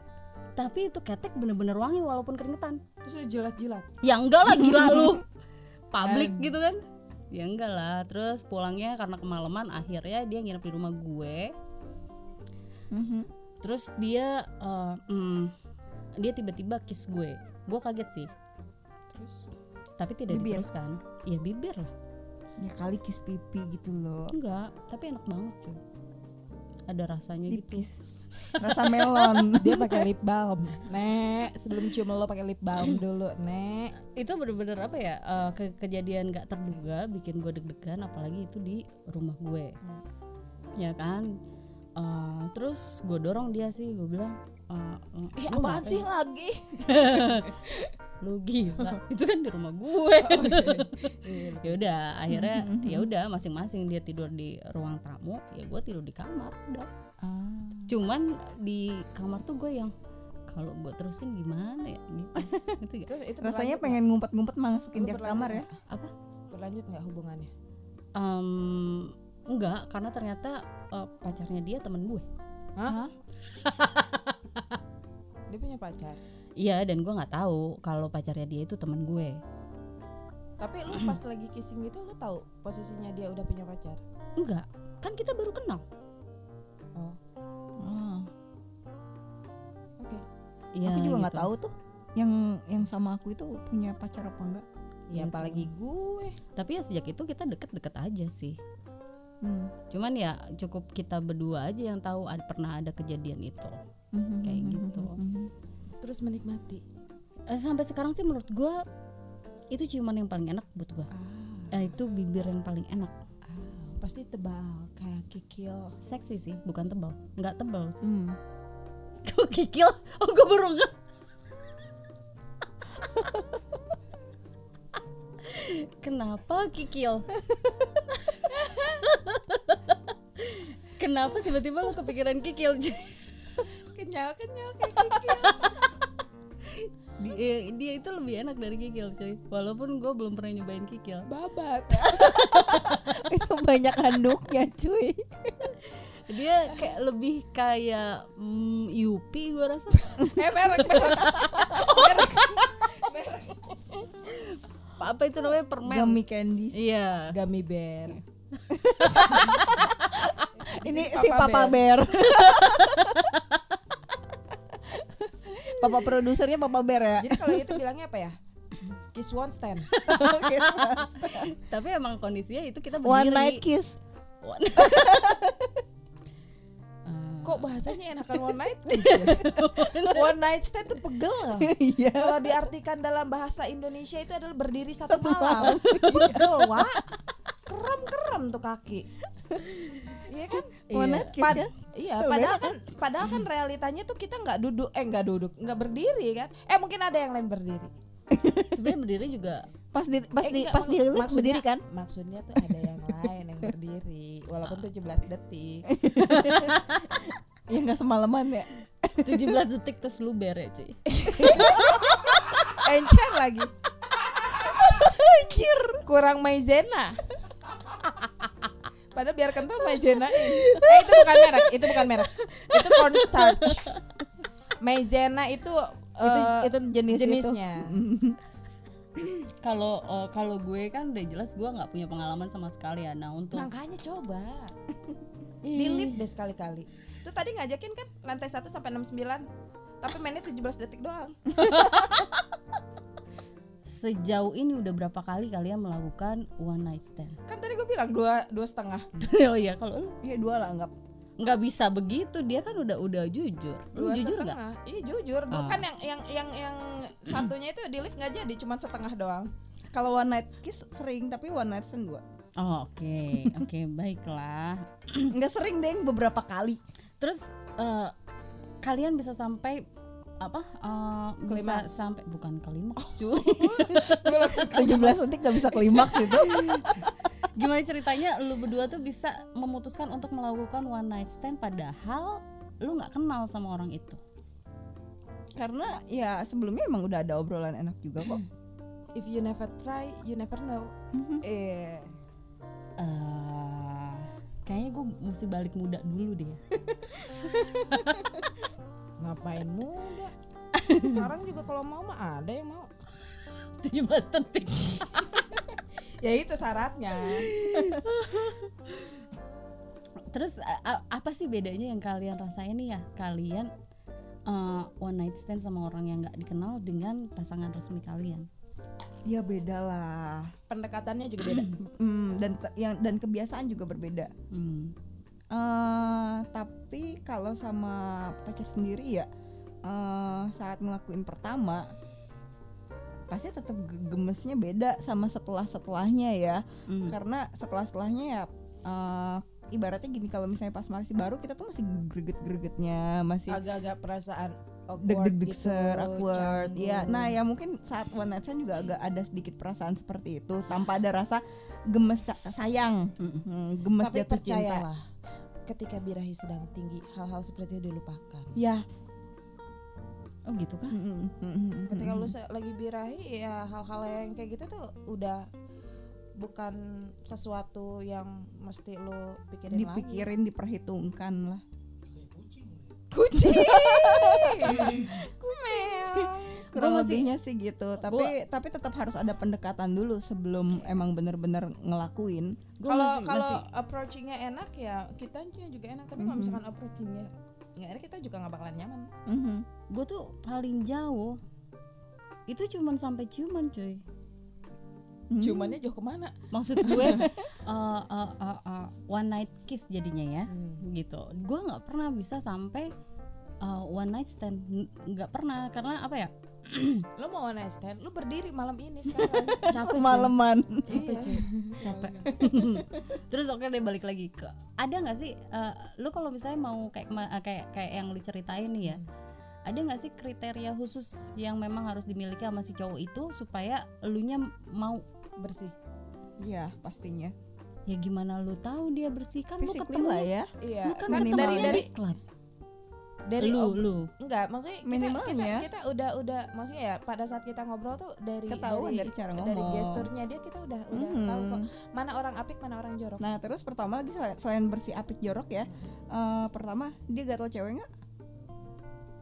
tapi itu ketek bener-bener wangi walaupun keringetan
Terus dia jilat-jilat.
ya enggak lah gila lu publik gitu kan ya enggak lah terus pulangnya karena kemalaman akhirnya dia nginep di rumah gue
Mhm.
terus dia eh, mm, dia tiba-tiba kiss gue gue kaget sih tapi tidak
Bibir.
diteruskan ya bibir lah
Ya kali kiss pipi gitu loh.
enggak tapi enak banget cuy ada rasanya gitu
Tipis. Rasa melon.
Dia pakai lip balm. Nek, sebelum cium lo pakai lip balm dulu, Nek.
itu bener-bener apa ya eh, ke- kejadian gak terduga bikin gue deg-degan apalagi itu di rumah gue
Hmm.
ya kan Eh, terus gue dorong dia sih gue bilang eh,
Eh
"Lu
apaan
gatel,
sih lagi?
lu gila itu kan di rumah gue
Oh, iya.
ya udah akhirnya
Hmm,
ya udah masing-masing dia tidur di ruang tamu ya gue tidur di kamar udah
Ah.
cuman di kamar tuh gue yang kalau gue terusin gimana ya gitu gitu ya
Terus itu
Rasanya
berlanjut
pengen ngumpet-ngumpet masukin
Lu
dia ke
berlanjut
kamar ya.
nggak?
apa
nggak? Berlanjut nggak hubungannya?
Em, enggak karena ternyata eh, pacarnya dia temen gue
Dia punya pacar.
iya dan gue nggak tahu kalau pacarnya dia itu temen gue
Tapi lu pas lagi kissing gitu lu tahu posisinya dia udah punya pacar.
enggak kan kita baru kenal
Ah.
Oke.
Iya,
aku juga nggak
gitu.
tahu tuh yang yang sama aku itu punya pacar apa enggak.
Ya
Gitu.
apalagi gue.
tapi ya sejak itu kita deket-deket aja sih
Hmm.
cuman ya cukup kita berdua aja yang tahu ad- pernah ada kejadian itu
Mhm.
Kayak gitu.
Terus menikmati.
Eh, sampai sekarang sih menurut gue itu ciuman yang paling enak buat gue
Ah.
Eh, itu bibir yang paling enak
Pasti tebal kayak kikil.
seksi sih bukan tebal nggak tebal
Hmm.
kok kikil oh gue baru nggak kenapa kikil kenapa tiba-tiba lo kepikiran kikil
Kenyal kenyal.
dia, dia itu lebih enak dari kikil cuy walaupun gue belum pernah nyobain kikil
Babat.
itu banyak handuknya cuy.
dia kayak lebih kayak mm, Yupi gue rasa
eh merek merek.
apa itu namanya permen
Gummy candy.
iya
Gummy bear.
Ini si Papa Bear. Papa produsernya Papa Bear ya.
Jadi kalau itu bilangnya apa ya? Kiss one stand.
Oke.
tapi emang kondisinya itu kita berdiri
One night kiss.
One-
Kok bahasanya enakan one night kiss ya? one night stand tuh pegel loh.
Iya.
Kalau diartikan dalam bahasa Indonesia itu adalah berdiri satu malam. Pegel, Wak. Kerem-kerem tuh kaki. Iya kan?
One
Iya.
night kiss
Pad-
kan?
iya,
Tuh,
padahal
beda
kan padahal kan realitanya tuh kita nggak duduk eh nggak duduk, nggak berdiri kan. Eh mungkin ada yang lain berdiri.
sebenarnya berdiri juga
Pas di pas
Eh,
di
enggak,
pas
mak-
di
maksudnya-
berdiri kan?
Maksudnya tuh ada yang lain yang berdiri walaupun
Ah.
17 detik.
Ya nggak semalaman ya.
17 detik terus lu bere cuy
Encer lagi. Anjir. Kurang maizena. Padahal biar kental maizenain. Eh itu bukan merek, itu bukan merek. Itu cornstarch. Maizena itu
Itu
eh,
itu jenis
jenisnya.
kalau eh, kalau gue kan udah jelas gue nggak punya pengalaman sama sekali ya nah untuk
Makanya coba.
Ih,
Di lift deh sekali-kali. Itu tadi ngajakin kan lantai 1 sampai 69. Tapi mainnya 17 detik doang.
sejauh ini udah berapa kali kalian melakukan one night stand
Kan tadi gue bilang dua dua setengah.
oh iya kalau lu
itu. Ya dua lah anggap.
nggak bisa begitu dia kan udah udah jujur lu
Dua
jujur nggak
setengah. Iya jujur. Gue
Ah.
kan yang yang yang yang satunya itu di lift nggak jadi, cuma setengah doang.
Kalau one night kiss sering, tapi one night stand dua.
Oh, oke oke baiklah
Nggak sering deh, beberapa kali.
terus eh, kalian bisa sampai apa eh, bisa
Klimaks.
sampai bukan klimaks cuy
17 detik nggak bisa klimaks gitu. itu.
gimana ceritanya lu berdua tuh bisa memutuskan untuk melakukan one night stand padahal lu nggak kenal sama orang itu
Karena ya sebelumnya emang udah ada obrolan enak juga kok.
If you never try, you never know.
Mhm.
Eh,
Eh, kayaknya gue mesti balik muda dulu deh
Ngapain muda? Sekarang juga kalau mau mah ada yang mau.
17 detik
Ya itu syaratnya.
terus a- a- apa sih bedanya yang kalian rasain nih ya kalian eh, one night stand sama orang yang nggak dikenal dengan pasangan resmi kalian
Ya beda lah.
Pendekatannya juga beda.
Hmm, dan te- yang dan kebiasaan juga berbeda.
Hmm.
eh tapi kalau sama pacar sendiri ya eh saat ngelakuin pertama pasti tetap ge- gemesnya beda sama setelah setelahnya ya
Hmm.
karena setelah setelahnya ya eh, ibaratnya gini kalau misalnya pas masih baru kita tuh masih greget gregetnya masih
Agak-agak perasaan
deg
awkward
deg deg
gitu,
ser awkward ya
canggung.
nah ya mungkin saat one night stand juga agak ada sedikit perasaan seperti itu tanpa ada rasa gemes ca- sayang
Mm-mm.
Hmm, gemes
Tapi
jatuh cinta
percayalah, ketika birahi sedang tinggi, hal-hal seperti itu dilupakan.
ya
oh gitu kan
Hmm,
Ketika
Hmm.
lu se- lagi birahi, ya hal-hal yang kayak gitu tuh udah bukan sesuatu yang mesti lu pikirin lagi.
dipikirin diperhitungkan lah
Kucing. Kumel.
kurang
masih-
lebihnya sih gitu tapi tapi tetap harus ada pendekatan dulu sebelum
Iya.
emang bener-bener ngelakuin
Gua
Kalau
masih-
kalau
masih-
approachingnya enak ya kita juga enak, tapi
Hmm.
kalau misalkan approachingnya nggak enak kita juga nggak bakalan nyaman.
Mhm.
gue tuh paling jauh itu cuman sampai ciuman cuy
Mhm.
Cumannya jauh kemana?
maksud gue eh, eh, eh, eh, one night kiss jadinya ya gitu gue nggak pernah bisa sampai eh, one night stand N- nggak pernah karena apa ya
Lu mau one night stand? Lu berdiri malam ini sekarang.
capek cuy.
semalaman
capek Gitu, cuy capek terus oke deh balik lagi ke ada nggak sih eh, lu kalau misalnya mau kayak ma- eh, kayak kayak yang lu ceritain nih ya ada nggak sih kriteria khusus yang memang harus dimiliki sama si cowok itu supaya elunya mau
Bersih.
ya pastinya
ya gimana lu tahu dia bersih kan lu
fisiknya
ketemu
lah ya
Iya.
lu kan
kan
ketemu
dari
dia
dari
di klub
dari
lu
ob-
lu
enggak maksudnya kita- kita,
Minimalnya.
kita, udah udah maksudnya ya pada saat kita ngobrol tuh dari
ketahuan dari, cara ngomong
dari gesturnya dia kita udah udah
Mhm.
tahu kok mana orang apik mana orang jorok.
nah terus pertama lagi sel- selain bersih apik jorok ya eh, pertama dia gatel cewek nggak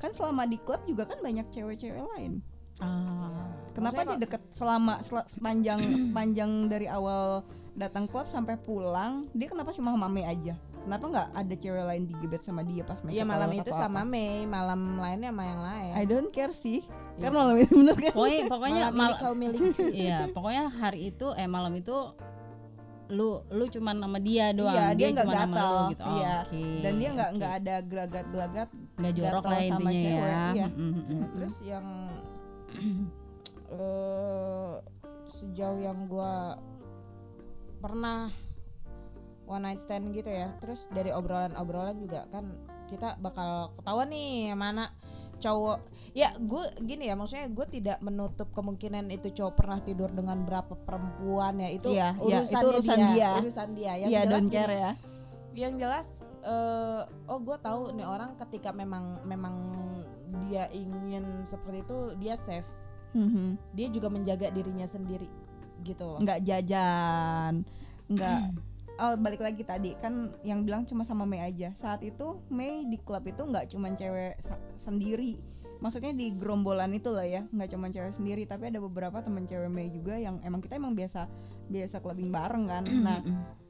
kan selama di klub juga kan banyak cewek-cewek lain
ah
Kenapa
Maksudnya
dia deket selama sel- sepanjang sepanjang dari awal datang klub sampai pulang dia kenapa cuma mame aja? Kenapa nggak ada cewek lain digebet sama dia pas
kok-
make
Iya
up
malam
atau
itu
apa-apa?
sama Mei, malam lainnya sama yang lain.
I don't care sih.
Iya.
Kan malam itu bener kan?
pokoknya pokoknya
malam ini
mal-
kau miliki.
Iya, pokoknya hari itu eh malam itu lu lu cuman sama dia doang.
Iya, dia nggak
cuman sama
gatal.
lu gitu. Oh,
Iya.
oke,
Dan dia nggak
oke.
nggak ada gelagat-gelagat.
Nggak jorok
gatal
lah
sama
intinya
cewek,
ya.
iya.
Mm, mm, mm.
Terus yang eh sejauh yang gua pernah one night stand gitu ya. Terus dari obrolan-obrolan juga kan kita bakal ketahuan nih yang mana cowok ya gue gini ya maksudnya gue tidak menutup kemungkinan itu cowok pernah tidur dengan berapa perempuan ya itu
Iya, iya,
urusannya
itu urusan dia.
urusan dia yang
Iya,
jelas
don't
gini,
care ya.
yang jelas eh oh gue tahu nih orang ketika memang memang dia ingin seperti itu dia safe
Mhm.
dia juga menjaga dirinya sendiri gitu loh
Nggak jajan, nggak.
Hmm.
Oh balik lagi tadi kan yang bilang cuma sama Mei aja. Saat itu Mei di klub itu nggak cuma cewek sa- sendiri. Maksudnya di gerombolan itu loh ya, nggak cuma cewek sendiri, tapi ada beberapa teman cewek Mei juga yang emang kita emang biasa biasa clubbing bareng kan.
Hmm,
Nah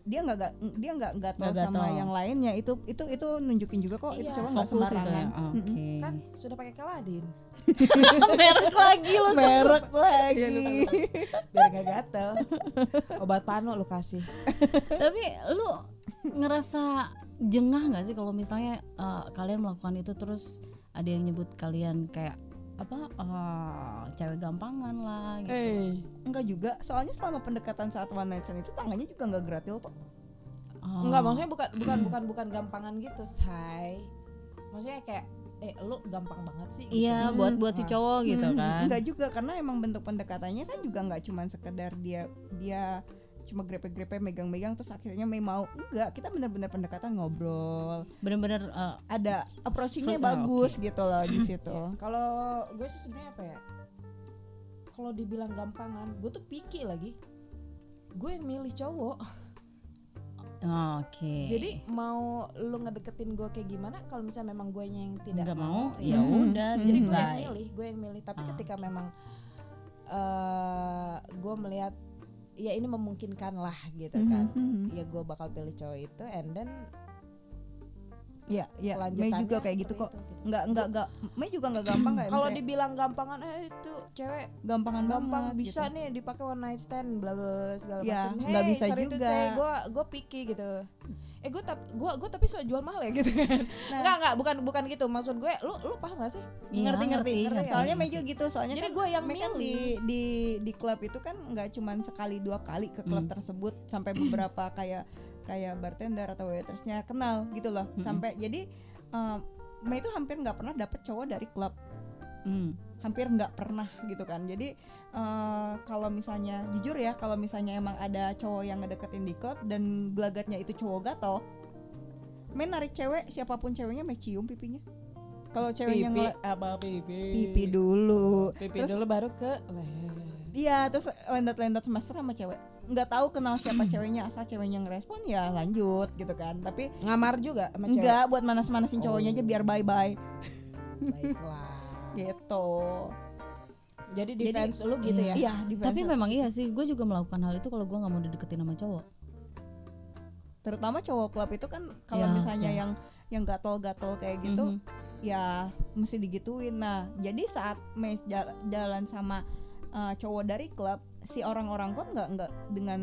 dia nggak ga- dia nggak gatel
Nggak
sama
gatel.
yang lainnya itu itu itu nunjukin juga kok itu
Iya,
cewek nggak
Fokus itu
sembarangan.
ya.
Mm-mm.
Oke.
kan sudah pakai kaladin
Merek lagi lu.
Merek
Iya, lu
lagi.
tahu. biar gak gatel obat panu lu kasih
Tapi lu ngerasa jengah nggak sih kalau misalnya eh, kalian melakukan itu terus ada yang nyebut kalian kayak apa eh, cewek gampangan lah gitu.
Eh,
Enggak juga, soalnya selama pendekatan saat one night stand itu tangannya juga nggak gratis kok.
Oh.
enggak maksudnya bukan bukan bukan bukan gampangan gitu, say. Maksudnya kayak eh lu gampang banget sih. gitu.
iya buat buat si
Wah.
cowok gitu
Hmm,
kan
Enggak juga karena emang bentuk pendekatannya kan juga nggak cuman sekedar dia dia cuma grepe-grepe megang-megang terus akhirnya Mei mau enggak kita bener-bener pendekatan ngobrol
bener-bener eh,
ada
Fl-
approachingnya
ah,
oh,
bagus gitu loh
Hmm.
di situ
Kalau gue sih sebenarnya apa ya? Kalau dibilang gampangan, gue tuh picky lagi. Gue yang milih cowok.
oh, oke
Jadi mau lu ngedeketin gue kayak gimana? Kalau misalnya memang gue yang tidak
nggak mau
ya
ya udah
Mhm.
jadi
jadi
gue
gue
yang milih gue yang milih tapi
Ah,
ketika memang eh gue melihat ya ini memungkinkan lah gitu
Hmm.
kan
Mhm.
ya gue bakal pilih cowok itu and then
ya ya Mei
kelanjutannya
juga kayak gitu
seperti
kok
itu, gitu.
nggak nggak nggak Mei juga nggak gampang kayak
kalau
misalnya
dibilang gampangan eh itu cewek
gampangan
gampang
banget
bisa
gitu.
nih dipakai one night stand bla bla bla, segala
Ya,
macam
nggak bisa juga.
gue gue picky gitu eh gue tapi gue gue tapi soal jual mahal ya gitu kan
Nah.
nggak nggak bukan bukan gitu maksud gue lu lu paham gak sih
Iya,
ngerti ngerti,
Iya, ngerti.
soalnya Mei juga gitu soalnya
jadi
kan
gue yang
Mei kan di
milih
di di klub itu kan nggak cuman sekali dua kali ke klub
Hmm.
tersebut sampai beberapa kayak kayak bartender atau waitersnya kenal gitu loh
Hmm.
Mm-mm.
sampai jadi em, Mei itu hampir nggak pernah dapet cowok dari klub
Mm.
hampir nggak pernah gitu kan jadi eh, kalau misalnya jujur ya kalau misalnya emang ada cowok yang ngedeketin di klub dan gelagatnya itu cowok gatel main narik cewek siapapun ceweknya main cium pipinya kalau ceweknya
pipi
ngeliat
apa pipi
pipi dulu
pipi
Terus-
dulu baru ke leher
iya terus lendat-lendat semester sama cewek nggak tahu kenal siapa ceweknya asal ceweknya ngerespon ya lanjut gitu kan tapi
ngamar juga sama cewek Oh.
enggak buat manas-manasin cowoknya aja biar bye-bye
baiklah
gitu
jadi defense lu gitu ya
iya di
tapi
friendzone.
memang iya sih gue juga melakukan hal itu kalau gue nggak mau dideketin sama cowok
terutama cowok klub itu kan kalau
Ya,
misalnya
ya.
yang yang gatel-gatel kayak gitu
Mhm.
ya mesti digituin nah jadi saat Mei ja- jalan sama uh, cowok dari klub si orang-orang klub nggak nggak dengan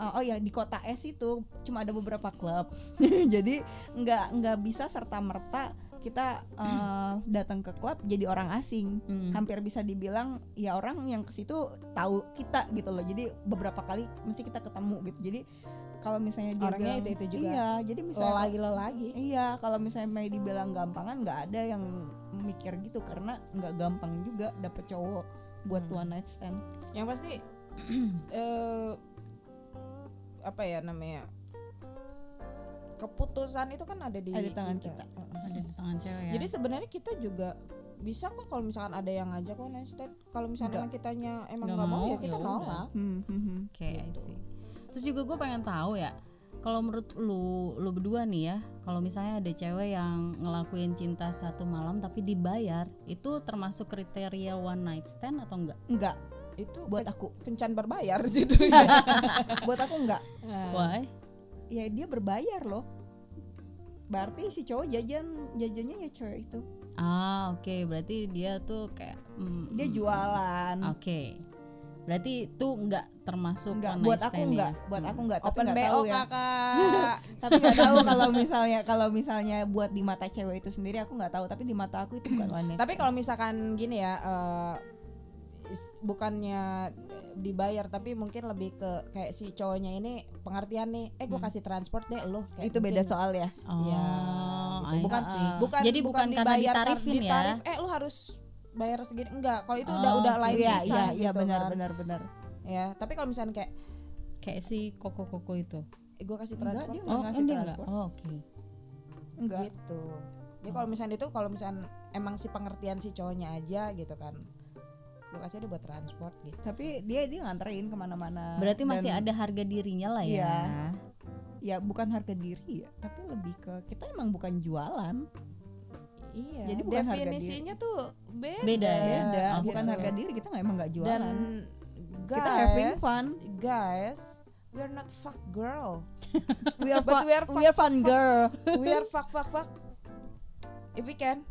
uh, oh ya di kota S itu cuma ada beberapa klub jadi nggak nggak bisa serta merta kita uh, datang ke klub jadi orang asing
Mm.
hampir bisa dibilang ya orang yang ke situ tahu kita gitu loh jadi beberapa kali mesti kita ketemu gitu jadi kalau misalnya dia
Orangnya
bilang-
itu-itu juga.
iya jadi
lo
misalnya
lagi lo lagi
Iya, kalau misalnya Mei dibilang gampangan nggak ada yang mikir gitu karena nggak gampang juga dapet cowok buat
Hmm.
one night stand.
yang pasti eh apa ya namanya keputusan itu kan ada di
Ada di tangan kita.
Heeh.
ada di tangan cewek ya
jadi sebenarnya kita juga bisa kok kalau misalkan ada yang ngajak kan kalau misalnya emang kitanya emang
Nggak
nggak mau
mau,
ya kita
ya udah.
nolak
Hmm, hmm, hmm.
Oke, I see. Terus juga gue pengen tahu ya, kalau menurut lu, lu berdua nih ya, kalau misalnya ada cewek yang ngelakuin cinta satu malam tapi dibayar, itu termasuk kriteria one night stand atau enggak?
Nggak,
itu
buat
pen-
aku,
kencan berbayar sih itu ya.
buat aku nggak.
Why?
Ya dia berbayar loh. Berarti si cowok jajan jajannya ya cewek itu.
Ah, oke, berarti dia tuh kayak mm,
Dia
mm,
jualan.
Oke. Berarti itu enggak termasuk
Nggak,
one
buat
night
aku
stand
nggak,
ya?
buat
Hmm.
aku nggak. Tapi
open
nggak
bo
tahu ya.
kakak
Tapi nggak tahu kalau misalnya kalau misalnya buat di mata cewek itu sendiri aku nggak tahu. Tapi di mata aku itu bukan one night.
Tapi kalau misalkan gini ya, eh, is- bukannya dibayar tapi mungkin lebih ke kayak si cowoknya ini pengertian nih, eh gue kasih transport deh lo. Kayak
itu beda
mungkin-
soal ya.
Oh,
Ya, gitu.
I
bukan,
see.
bukan,
Jadi bukan karena ditarifin ya?
ditarif, eh lu harus bayar segini enggak kalau itu udah
Oh,
udah lain
Iya,
bisa
iya, iya
gitu
benar,
kan.
benar, benar.
ya tapi kalau misalkan kayak
kayak si koko-koko itu.
eh, gue kasih
Enggak,
transport
dia
Oh, dia
ngasih
enggak.
transport.
Oh, oke.
Enggak.
gitu jadi kalau misalnya itu kalau misalnya emang si pengertian si cowoknya aja gitu kan gue kasih dia buat transport gitu
tapi dia dia nganterin kemana-mana
Berarti
Dan
masih ada harga dirinya lah ya.
Iya. ya bukan harga diri ya tapi lebih ke kita emang bukan jualan
iya
Jadi bukan harga diri.
definisinya tuh beda
Beda ya?
beda Oh,
oke.
bukan
gitu.
harga diri kita nggak emang nggak
Eh, dan
jualan
guys,
kita having fun
guys we are not fuck girl
we are
but
fun
we are
we are fun girl
we are fuck fuck fuck if we can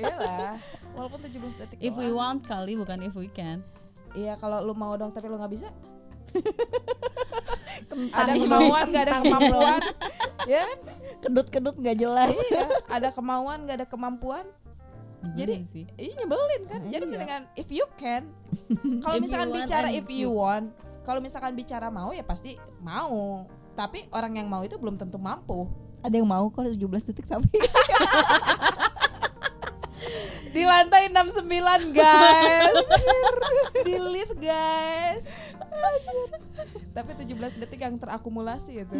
iyalah walaupun 17 detik
If we
doang.
want kali bukan if we can.
iya kalau lu mau dong tapi lu nggak bisa
Kentang
ada
dong.
kemauan nggak ada
Kentang dong.
kemampuan ya kan?
Kedut-kedut nggak jelas.
Iya, ada kemauan nggak ada kemampuan Jadi,
Nyebelin sih.
Iya nyebelin kan.
Nah,
Jadi
iya.
mendingan if you can. Kalau
If you
misalkan
want
bicara
and
if you want, kalau misalkan bicara mau ya pasti mau. Tapi orang yang mau itu belum tentu mampu.
Ada yang mau kok 17 detik tapi
Di lantai 69, guys. Di lift, guys. Tapi 17 detik yang terakumulasi
Hmm.
itu.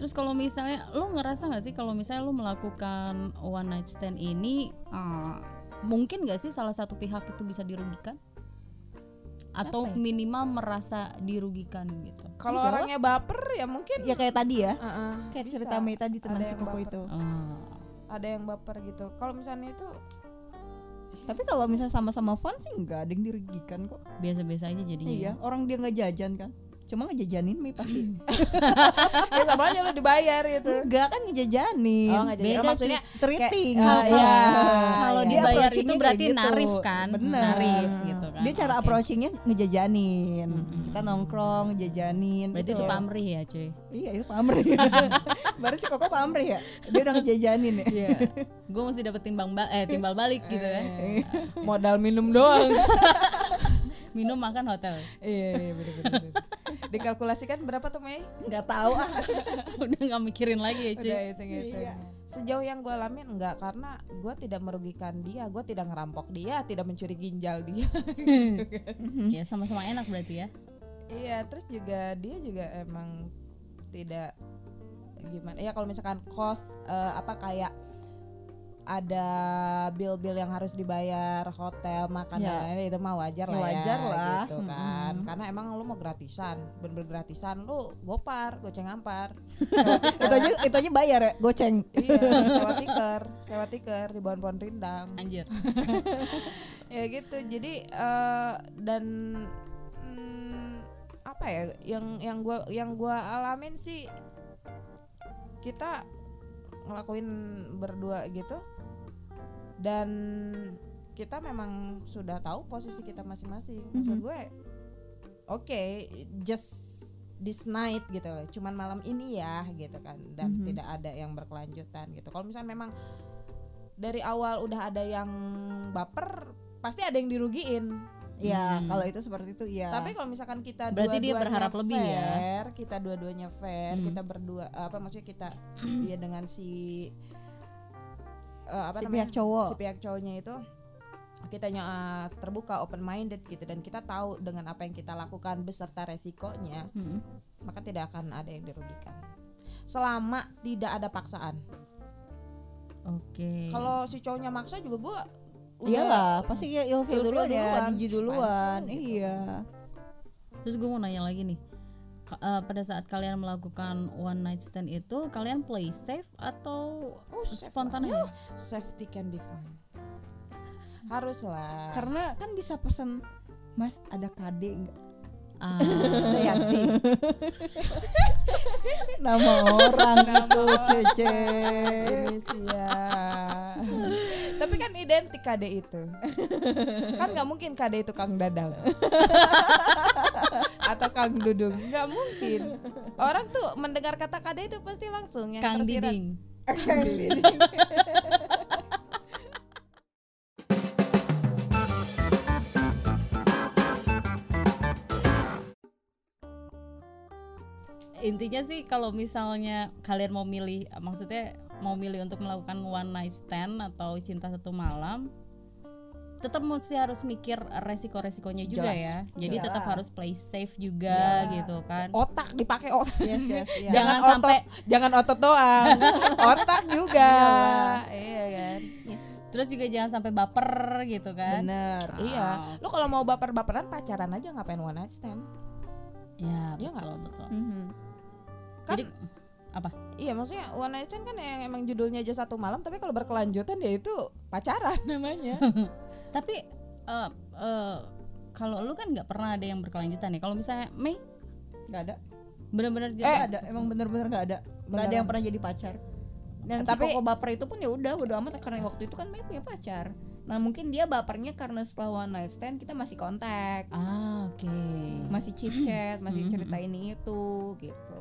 Terus kalau misalnya lo ngerasa nggak sih kalau misalnya lo melakukan one night stand ini eh, mungkin nggak sih salah satu pihak itu bisa dirugikan atau
ya?
minimal merasa dirugikan gitu.
Kalau
Enggak.
orangnya baper ya mungkin
ya kayak tadi ya.
Heeh,
Kayak
bisa.
cerita Mei tadi tentang
Ada
si
yang
koko
baper.
itu.
Ah,
Ada yang baper gitu. Kalau misalnya itu
Tapi kalau misalnya sama-sama fun sih nggak ada yang dirugikan kok.
biasa-biasa aja jadinya.
Iya, orang dia nggak jajan kan. Cuma ngejajanin mie pasti.
ya sama aja lu dibayar gitu.
Enggak kan ngejajanin.
Oh, nggak jadi.
Beda
Oh, maksudnya
Treating.
Kayak,
Apa?
eh, iya.
Kalau
Iya.
Dia
dibayar
approaching-nya
itu
kayak
berarti
gitu.
narif kan,
Bener.
narif gitu kan.
Dia cara
Oke.
approachingnya ngejajanin.
Mm-mm.
Kita nongkrong, jajanin.
Berarti
gitu.
itu pamrih ya cuy.
Iya, itu pamrih. Baru si Koko pamrih ya. Dia udah ngejajanin ya.
Iya. Gue mesti dapet timbang ba- eh timbal balik gitu ya.
Eh, modal minum doang.
Minum makan hotel.
iya, iya benar-benar. Dikalkulasikan berapa tuh Mei?
Enggak tahu ah.
Udah nggak mikirin lagi ya cuy.
Udah hitung hitungnya Sejauh yang gue alamin enggak karena gue tidak merugikan dia, gue tidak ngerampok dia, tidak mencuri ginjal dia.
Ya sama-sama enak berarti ya.
iya, terus juga dia juga emang tidak gimana. Ya kalau misalkan kos eh, apa kayak ada bill-bill yang harus dibayar hotel makan
Ya.
dan lain-lain itu mah wajar lah
Ya, wajar
ya,
lah.
gitu kan
Mm-mm.
karena emang lu mau gratisan bener-bener gratisan lu gopar goceng ampar
itu aja itu aja bayar ya, goceng.
iya sewa tiker sewa tiker di bawah pohon rindang
Anjir.
ya gitu jadi eh, dan mm, apa ya yang yang gua yang gua alamin sih kita ngelakuin berdua gitu dan kita memang sudah tahu posisi kita masing-masing maksud gue oke just this night gitu loh cuman malam ini ya gitu kan dan
Mhm.
tidak ada yang berkelanjutan gitu kalau misalnya memang dari awal udah ada yang baper pasti ada yang dirugiin
Ya,
Hmm.
kalau itu seperti itu ya.
tapi kalau misalkan kita
Berarti dia
dua-duanya
berharap lebih ya?
fair, kita dua-duanya fair,
Hmm.
kita berdua apa maksudnya kita dia dengan si eh, apa
si
namanya?
pihak cowok.
si pihak cowoknya itu kita nyo- eh, terbuka open minded gitu dan kita tahu dengan apa yang kita lakukan beserta resikonya,
Mm-mm.
maka tidak akan ada yang dirugikan. Selama tidak ada paksaan.
Oke.
Kalau si cowoknya maksa juga gua udah
Iyalah, Iya pasti ya ilfil
Iya. Ilfil
duluan ya,
duluan.
jijik duluan.
Apaan sih, gitu.
Iya.
Terus gue mau nanya lagi nih. Ka- eh, pada saat kalian melakukan one night stand itu, kalian play safe atau
Oh, safe
spontan
lah.
aja?
safety can be fun. Haruslah.
Karena kan bisa pesan Mas ada KD enggak?
Ah,
Dayanti.
Nama orang itu Cece.
Iya.
Indonesia. Tapi kan identik KD itu. Kan nggak mungkin KD itu Kang Dadang. Atau Kang Dudung, nggak mungkin. Orang tuh mendengar kata KD itu pasti langsung yang
Kang
tersirat.
Diding.
Iya,
Intinya sih kalau misalnya kalian mau milih, maksudnya mau milih untuk melakukan one night stand atau cinta satu malam, tetap mesti harus mikir resiko-resikonya juga
Jelas. Iya.
ya. Jadi
Jelas.
tetap harus play safe juga
Iya.
gitu kan.
Otak dipakai otak.
Yes, yes, iya.
Jangan
Oh, Jangan, otot,
sampai-
jangan otot doang. otak juga. iya kan.
Yes.
Terus juga jangan sampai baper gitu kan.
Bener.
Iya.
Ah.
Lu kalau mau baper-baperan pacaran aja ngapain one night stand?
Ya,
Iya nggak?
betul, betul.
Mhm.
Kan-
Jadi apa?
Iya maksudnya one night stand kan yang emang judulnya aja satu malam tapi kalau berkelanjutan ya itu pacaran namanya.
Tapi eh, eh, kalau lu kan nggak pernah ada yang berkelanjutan ya. Kalau misalnya Mei
Nggak ada.
benar-benar
Nggak
jadi-
ada. Emang bener-bener nggak ada. Nggak ada
Eh. Beneran.
yang pernah jadi pacar. Dan si
Tapi-
Koko baper itu pun ya udah bodo amat karena waktu itu kan Mei punya pacar. Nah mungkin dia bapernya karena setelah one night stand kita masih kontak,
Ah, oke. Hmm.
masih chit chat, masih
Mhm.
cerita ini itu gitu.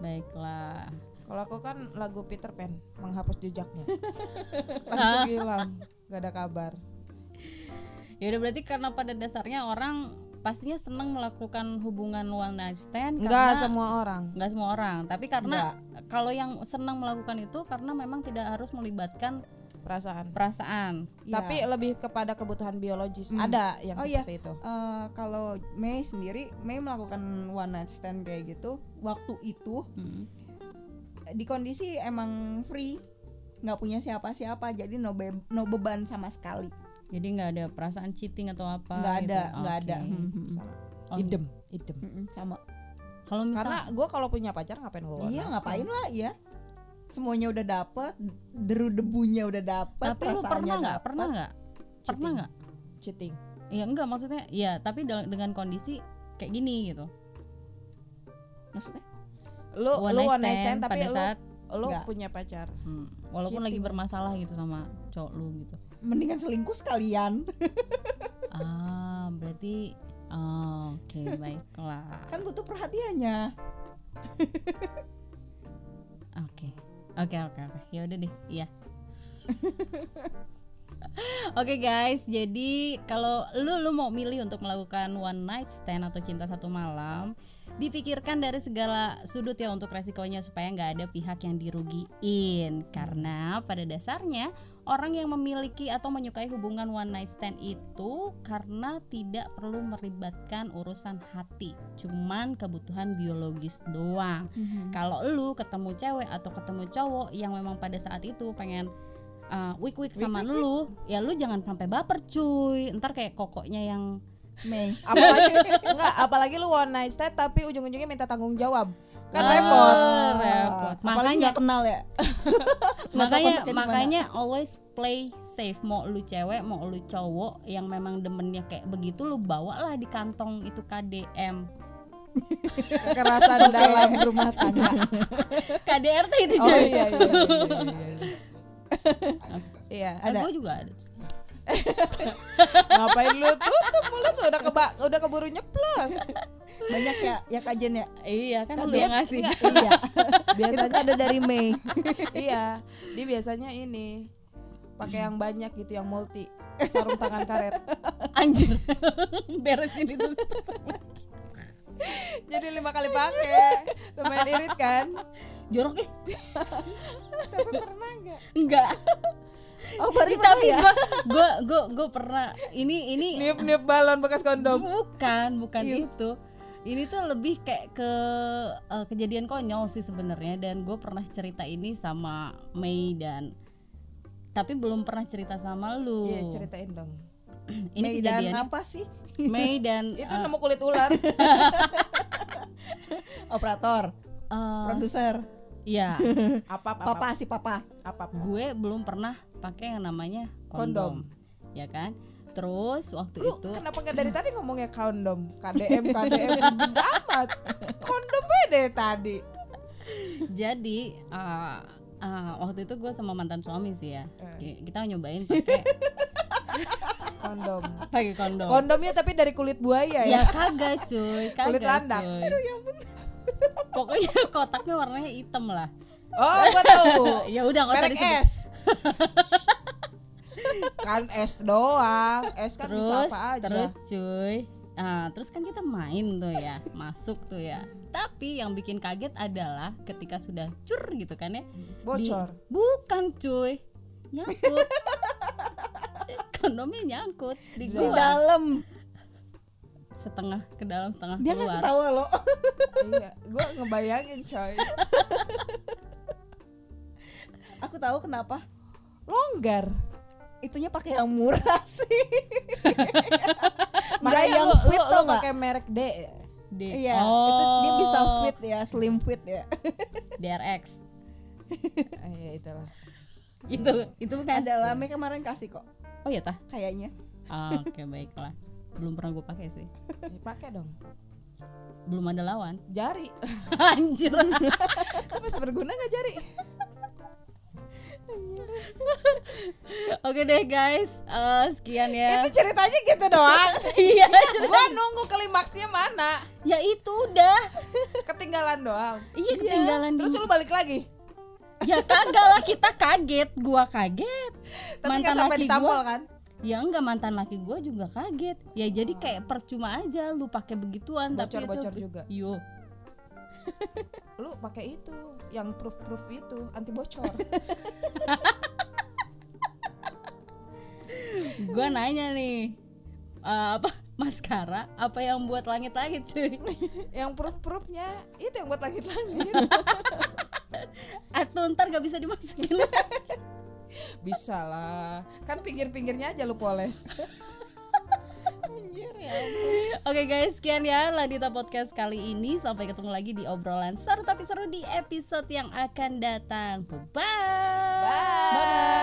Baiklah.
Kalau aku kan lagu Peter Pan menghapus jejaknya. Langsung hilang, gak ada kabar.
Ya udah berarti karena pada dasarnya orang pastinya senang melakukan hubungan one night stand
Enggak
karena
semua orang.
nggak semua orang, tapi karena kalau yang senang melakukan itu karena memang tidak harus melibatkan
perasaan.
perasaan.
Ya.
Tapi lebih kepada kebutuhan biologis.
Hmm.
Ada yang
Oh, iya.
seperti itu.
Eh, kalau Mei sendiri, Mei melakukan one night stand kayak gitu waktu itu
Hmm.
eh, di kondisi emang free, nggak punya siapa-siapa, jadi no, be- no beban sama sekali,
Jadi nggak ada perasaan cheating atau apa?
nggak
gitu.
ada, nggak ada.
Oke.
Hmm, hmm,
Sama.
Oh,
idem, idem.
hmm, sama.
Kalau misalnya
Karena gue kalau punya pacar ngapain gue?
Iya, ngapain lah ya? Semuanya udah dapet, deru debunya udah dapet.
tapi lu pernah nggak? Pernah nggak? Pernah
Cheating.
nggak?
Cheating.
Ya enggak maksudnya. Ya tapi dal- dengan kondisi kayak gini gitu.
Maksudnya?
Lu lu one night stand tapi
pada
lu
saat
lu
Nggak.
punya pacar.
hmm, walaupun lagi
Cheating.
bermasalah gitu sama cowok lu gitu.
Mendingan selingkuh sekalian.
Ah, berarti oh, oke baiklah.
Kan butuh perhatiannya.
Oke. Oke, oke, oke. Ya udah deh. Iya. Oke guys, jadi kalau lu lu mau milih untuk melakukan one night stand atau cinta satu malam, dipikirkan dari segala sudut ya untuk resikonya supaya nggak ada pihak yang dirugiin. Karena pada dasarnya orang yang memiliki atau menyukai hubungan one night stand itu karena tidak perlu melibatkan urusan hati, cuman kebutuhan biologis doang kalau lu ketemu cewek atau ketemu cowok yang memang pada saat itu pengen uh, wik wik sama lu ya lu jangan sampai baper cuy ntar kayak kokoknya yang
Mei.
Apalagi enggak, apalagi lu one night stand tapi ujung-ujungnya minta tanggung jawab. Kan
Ah,
repot.
repot.
Apalagi
makanya
nggak kenal ya. Nggak tahu
makanya
kontaknya di mana.
makanya always play safe mau lu cewek mau lu cowok yang memang demennya kayak begitu lu bawalah di kantong itu KDM
Kekerasan dalam rumah
ya.
tangga.
KDRT itu
Oh
cuy
iya iya. iya, iya, iya. Iya,
Ada.
gue Nah, juga ada.
ngapain lu tutup mulut lu, udah keba udah keburu nyeplos.
Banyak ya, ya kajian ya.
iya kan lu yang ngasih
Enggak,
iya. Itu
biasanya
kado dari Mei.
iya dia biasanya ini pakai yang banyak gitu yang multi sarung tangan karet
anjir beresin itu
jadi lima kali pakai lumayan irit kan
jorok ih
tapi pernah nggak
enggak
Oh, berarti pernah
tapi
ya.
gue gue gue pernah ini ini
niup niup balon bekas kondom
bukan bukan itu ini tuh lebih kayak ke eh, kejadian konyol sih sebenarnya dan gue pernah cerita ini sama Mei dan tapi belum pernah cerita sama lu
iya ceritain dong
ini
Mei dan
kejadian
apa sih?
Mei dan
itu
eh,
nemu kulit ular
Operator,
eh,
produser,
ya
apa apa
papa si papa.
apa
gue belum pernah pakai yang namanya kondom,
Kondom.
ya kan terus waktu
lu
itu
kenapa nggak dari tadi ngomongnya kondom KDM KDM ribet amat kondom beda tadi
jadi eh, eh, waktu itu gue sama mantan suami sih ya
Eh.
kita nyobain pakai
kondom
pakai kondom.
kondomnya tapi dari kulit buaya
ya
ya
kagak cuy, kagak
Kulit landak. ya.
cuy.
ya
Pokoknya kotaknya warnanya hitam lah.
oh gua tahu
ya udah nggak usah
merek
disebut.
es kan es doang es kan bisa
terus,
apa aja
terus cuy. Ah, terus kan kita main tuh ya, masuk tuh ya. Tapi yang bikin kaget adalah ketika sudah cur gitu kan ya. di-
bocor
bukan cuy, nyangkut. Kondomnya nyangkut di
Di
gua
dalam.
setengah ke dalam setengah
Dia nggak
keluar.
ketawa lo.
iya gue ngebayangin coy
Aku tahu kenapa.
longgar
Itunya pakai yang murah sih. Nggak
makanya
yang
lu
fit
lu, lu
tau nggak?
pakai merek D
Di-
Iya,
oh,
itu dia bisa fit ya, slim fit ya.
DRX.
Eh, ya itulah
itu itu bukan
Ada lame kemarin kasih kok,
oh iya tah
kayaknya.
Ah, oke baiklah belum pernah gue pakai sih
dipakai dong
belum ada lawan
jari
anjir
tapi berguna nggak jari
Oke deh guys, Eh, sekian ya.
Itu gitu. ceritanya gitu doang.
Iya, cerita-
Gua nunggu klimaksnya mana?
ya itu udah.
Ketinggalan doang.
Iya ketinggalan.
Terus
di-
lu balik lagi.
Ya kagak lah kita kaget, gua kaget.
Tapi nggak sampai
laki
ditampol
gua,
kan?
ya enggak mantan laki gua juga kaget. Ya jadi kayak percuma aja lu pakai begituan tapi itu
Bocor-bocor juga.
Yo,
Lu pakai itu, yang proof-proof itu, anti bocor.
gua nanya nih. eh, apa maskara apa yang buat langit-langit cuy
yang proof-proofnya itu yang buat langit-langit.
atau ntar gak bisa dimasukin lagi.
Bisa lah. Kan pinggir-pinggirnya aja lu poles.
Oke guys, sekian ya Ladita Podcast kali ini. Sampai ketemu lagi di obrolan seru tapi seru di episode yang akan datang. Bye-bye.
Bye.